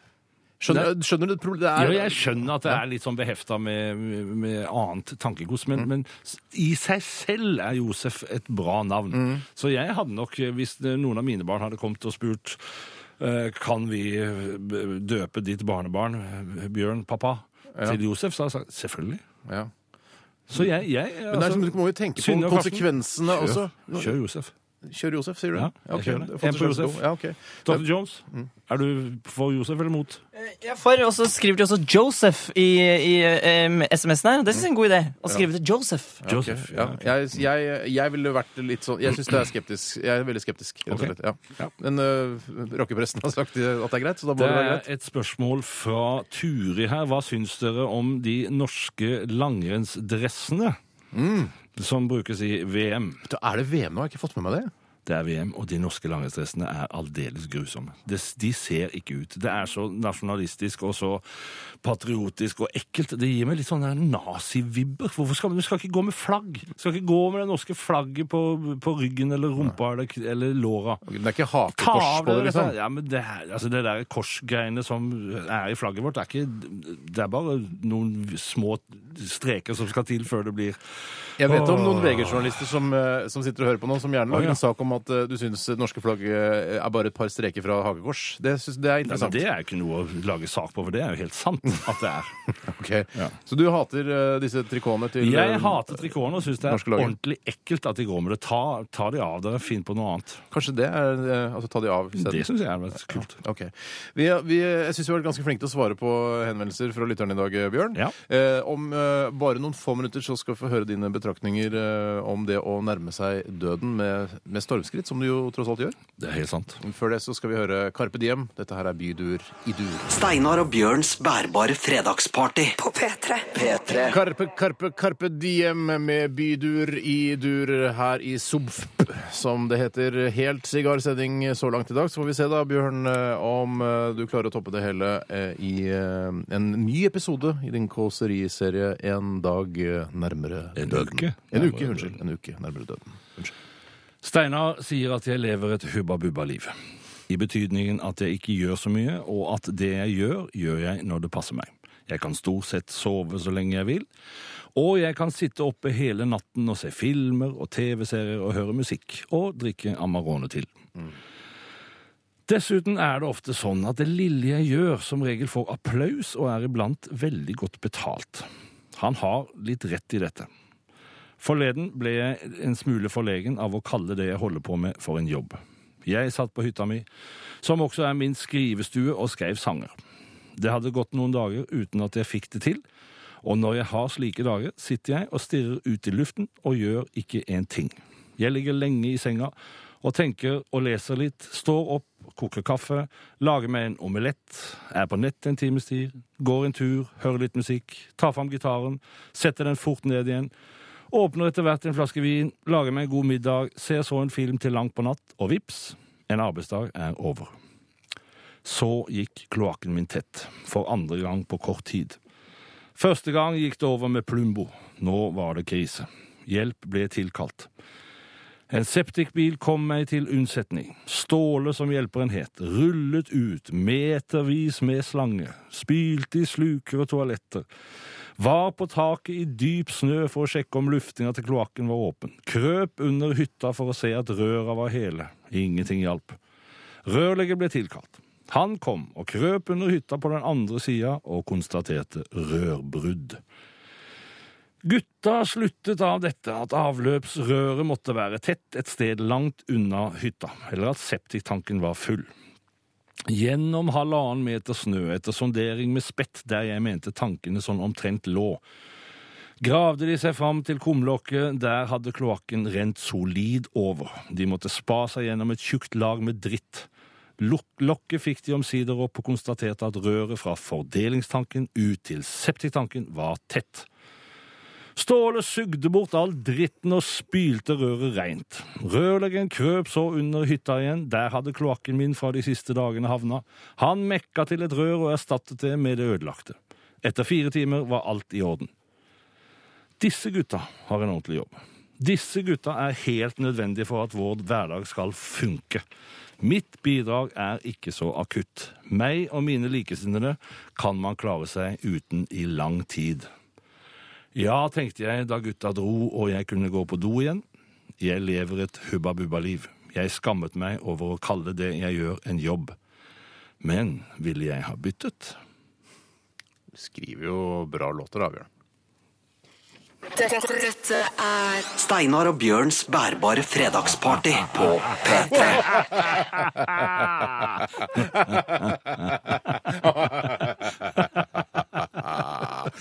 S2: Skjønner, skjønner du det problemet?
S3: Jo,
S2: Det er-
S3: jeg skjønner at det er litt sånn behefta med, med annet tankegods,
S2: Mm.
S3: men, men s- i seg selv er Josef et bra navn.
S2: Mm.
S3: Så jeg hadde nok, hvis noen av mine barn hadde kommet og spurt eh, kan vi b- døpe ditt barnebarn, eh, Bjørn, pappa, til Josef, så hadde jeg sagt selvfølgelig.
S2: ja.
S3: Så jeg, jeg
S2: Mm.
S3: altså,
S2: Men det er, som- du må jo tenke på konsekvensene også.
S3: Kjør, kjør Josef.
S2: Kjør Josef, sier du?
S3: Ja, jeg
S2: ok.
S3: kjører det.
S2: Du har fått
S3: En på
S2: det selv.
S3: Josef.
S2: Ja, Mm. ok.
S3: Dr. Jones, er du for Josef eller mot?
S4: Ja, Eh, for, og så skriver de også Joseph i, i eh, em, SMS-en her. Det synes jeg er en god idé. Å skrive til Joseph.
S3: Josef.
S2: Ja, jeg, jeg, jeg ville vært litt sånn Jeg syns det er skeptisk. Jeg er veldig skeptisk, rett og
S3: Ok.
S2: slett. Ja.
S3: Ja.
S2: Men øh, rockepresten har sagt at det er greit, så da må
S3: Det
S2: det være greit.
S3: er et spørsmål fra Turi her. Hva syns dere om de norske langrennsdressene som brukes i VM?
S2: Da Er det VM nå? Jeg har ikke fått med meg det.
S3: Det er VM, og de norske langrennsdressene er aldeles grusomme. De, de ser ikke ut. Det er så nasjonalistisk og så patriotisk og ekkelt. Det gir meg litt sånne nazivibber. Hvorfor skal man du skal ikke gå med flagg? Du skal ikke gå med det norske flagget på, på ryggen eller rumpa eller, eller låra.
S2: Det er ikke
S3: Ta
S2: hakekors
S3: av
S2: på det,
S3: dere dette.
S2: liksom.
S3: Ja, men det, her- altså det der korsgreiene som er i flagget vårt, det er, ikke, det er bare noen små streker som skal til før det blir
S2: Jeg vet om noen VG-journalister som, eh, som sitter og hører på nå, som gjerne
S3: Å,
S2: lager
S3: ja.
S2: en sak om at eh, du syns norske flagg eh, er bare et par streker fra hakekors. Det, synes, det er
S3: Nei, men
S2: interessant.
S3: Altså, Det er jo ikke noe å lage sak på, for det er jo helt sant at det er.
S2: Ok.
S3: Ja.
S2: Så du hater eh, disse trikotene til eh,
S3: Jeg hater trikotene og syns det er
S2: Norske laget.
S3: ordentlig ekkelt at de går med det. Ta, ta de av dere, finn på noe annet.
S2: Kanskje det er eh, Altså ta de av isteden.
S3: Det syns jeg er veldig kult.
S2: Ok. Vi, vi, jeg syns vi har vært ganske flinke til å svare på henvendelser fra lytterne i dag, Bjørn.
S3: Ja.
S2: Eh, om eh, bare noen få minutter så skal vi få høre dine betraktninger eh, om det å nærme seg døden med, med stormskritt, som du jo tross alt gjør.
S3: Det er helt sant.
S2: Før det så skal vi høre Carpe Diem. Dette her er Bydur i dur.
S1: Steinar og Bjørns bærbare fredagsparty.
S5: På P3.
S1: P3.
S2: Karpe, karpe, karpe diem med bydur i dur her i Subfp, som det heter. Helt sigarsending så langt i dag. Så får vi se da, Bjørn, eh, om eh, du klarer å toppe det hele eh, i eh, en ny episode i din kåseriserie En dag eh, nærmere
S3: En
S2: døden.
S3: uke.
S2: En uke, unnskyld. En uke nærmere døden. Unnskyld.
S3: Steinar sier at jeg lever et hubba-bubba-liv. I betydningen at jeg ikke gjør så mye, og at det jeg gjør, gjør jeg når det passer meg. Jeg kan stort sett sove så lenge jeg vil, og jeg kan sitte oppe hele natten og se filmer og TV-serier og høre musikk, og drikke Amarone til. Dessuten er det ofte sånn at det lille jeg gjør, som regel får applaus og er iblant veldig godt betalt. Han har litt rett i dette. Forleden ble jeg en smule forlegen av å kalle det jeg holder på med, for en jobb. Jeg satt på hytta mi, som også er min skrivestue, og skrev sanger. Det hadde gått noen dager uten at jeg fikk det til, og når jeg har slike dager, sitter jeg og stirrer ut i luften og gjør ikke en ting. Jeg ligger lenge i senga og tenker og leser litt, står opp, koker kaffe, lager meg en omelett, er på nett en times tid, går en tur, hører litt musikk, tar fram gitaren, setter den fort ned igjen, Åpner etter hvert en flaske vin, lager meg en god middag, ser så en film til langt på natt, og vips, en arbeidsdag er over. Så gikk kloakken min tett, for andre gang på kort tid. Første gang gikk det over med Plumbo. Nå var det krise. Hjelp ble tilkalt. En septikbil kom meg til unnsetning. Ståle, som hjelperen het, rullet ut metervis med slange, spylte i sluker og toaletter, var på taket i dyp snø for å sjekke om luftinga til kloakken var åpen. Krøp under hytta for å se at røra var hele. Ingenting hjalp. Rørlegger ble tilkalt. Han kom og krøp under hytta på den andre sida og konstaterte rørbrudd. Gutta sluttet av dette at avløpsrøret måtte være tett et sted langt unna hytta, eller at septiktanken var full. Gjennom halvannen meter snø etter sondering med spett der jeg mente tankene sånn omtrent lå. gravde de seg fram til kumlokket. Der hadde kloakken rent solid over. De måtte spa seg gjennom et tjukt lag med dritt. Lok lokket fikk de omsider opp og konstaterte at røret fra fordelingstanken ut til septiktanken var tett. Ståle sugde bort all dritten og spylte røret reint. Rørleggeren krøp så under hytta igjen, der hadde kloakken min fra de siste dagene havna. Han mekka til et rør og erstattet det med det ødelagte. Etter fire timer var alt i orden. Disse gutta har en ordentlig jobb. Disse gutta er helt nødvendige for at vår hverdag skal funke. Mitt bidrag er ikke så akutt. Meg og mine likesinnede kan man klare seg uten i lang tid. Ja, tenkte jeg da gutta dro og jeg kunne gå på do igjen. Jeg lever et hubba-bubba-liv. Jeg skammet meg over å kalle det jeg gjør, en jobb. Men ville jeg ha byttet?
S2: Du skriver jo bra låter, da, Bjørn.
S5: Dette, dette er
S1: Steinar og Bjørns bærbare fredagsparty på P3.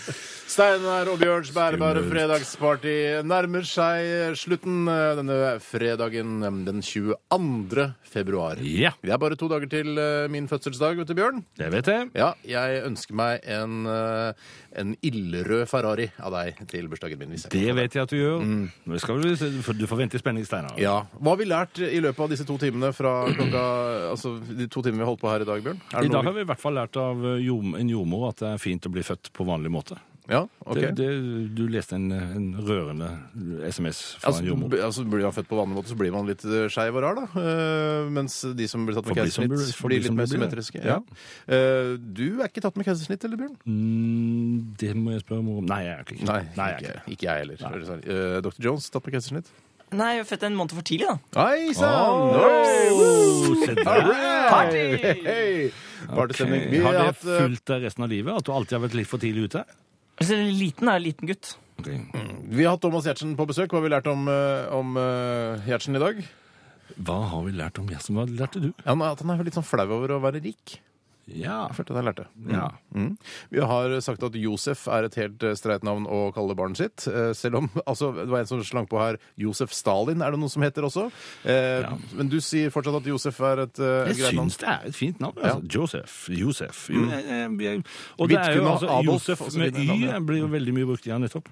S2: Steinar og Bjørns bærbare fredagsparty nærmer seg slutten eh, denne fredagen eh, den 22. februar.
S3: Ja.
S2: Det er bare to dager til eh, min fødselsdag, vet du, Bjørn.
S3: Det vet jeg.
S2: Ja, jeg ønsker meg en, eh, en ildrød Ferrari av deg til bursdagen min. Hvis jeg
S3: Det vet jeg at du gjør. Nå skal du, for du får vente i spenning, Steinar.
S2: Mm. Ja. Hva har vi lært i løpet av disse to timene fra klokka Altså de to timene vi holdt på her i dag, Bjørn? Er
S3: I
S2: det noe
S3: dag har vi i hvert fall lært av eh, jord- en jordmor at det er fint å bli født på vanlig måte.
S2: vi... Ja, ok.
S3: Det, det, du leste en, en rørende SMS fra
S2: Altså,
S3: en jordmor.
S2: b- altså Blir man født på vanlig måte, så blir man litt eh, skeiv og rar, da. Eh, mens de som blir tatt med
S3: For de som
S2: keisersnitt,
S3: blir-
S2: blir,
S3: for de
S2: litt
S3: som
S2: mer
S3: blir det.
S2: symmetriske. Ja. Eh, du er ikke tatt med keisersnitt, eller, Bjørn?
S3: Mm, det må jeg spørre mor om. Nei, jeg er ikke
S2: Nei,
S3: jeg er
S2: ikke,
S3: ikke.
S2: ikke jeg heller. Eh, Dr. Jones tatt med keisersnitt?
S4: Nei, jeg er født en måned for tidlig, da.
S2: Hei sann!
S3: Oh, se der.
S2: Party! Hey. Partystemning. Vi
S3: Har
S2: har
S3: det
S2: hatt eh,
S3: fulgt deg resten av livet? At du alltid har vært litt for tidlig ute?
S4: Altså, liten er en liten gutt.
S2: Vi har hatt Thomas Giertsen på besøk. Hva har vi lært om, eh, om eh, Giertsen i dag?
S3: Hva har vi lært om Gjertsen? Hva lærte du?
S2: Ja, han, at han er litt sånn flau over å være rik.
S3: Ja.
S2: Jeg følte at jeg lærte.
S3: ja.
S2: Mm. Vi har sagt at Josef er et helt eh, streit navn å kalle barnet sitt. eh, Selv om altså, det var en som slang på her Josef Stalin er det noen som heter også. Eh,
S3: Ja.
S2: Men du sier fortsatt at Josef er et eh,
S3: Jeg
S2: greit Mm. navn.
S3: syns det er et fint navn. Altså. Josef. Josef. Jo, jeg, jeg, jeg, og det er jo
S2: Vidkun og
S3: altså
S2: Adolf,
S3: Josef
S2: og så
S3: med
S2: videre navn,
S3: Y
S2: ja. Mm.
S3: blir jo veldig mye brukt. Ja, nettopp.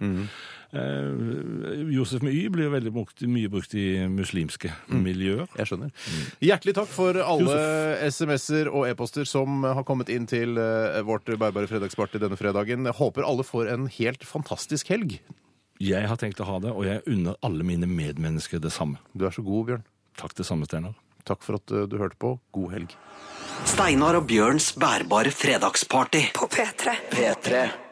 S3: Eh, Josef med Y blir jo veldig brukt, mye brukt i muslimske
S2: Mm.
S3: miljøer.
S2: Jeg skjønner.
S3: Mm.
S2: Hjertelig takk for alle SMS-er og e-poster som har kommet inn til eh, vårt Bærbare fredagsparty denne fredagen. Jeg håper alle får en helt fantastisk helg.
S3: Jeg har tenkt å ha det, og jeg unner alle mine medmennesker det samme.
S2: Du er så god, Bjørn.
S3: Takk det samme, Steinar.
S2: Takk for at eh, du hørte på. God helg.
S1: Steinar og Bjørns bærbare fredagsparty.
S5: på P3.
S1: P3.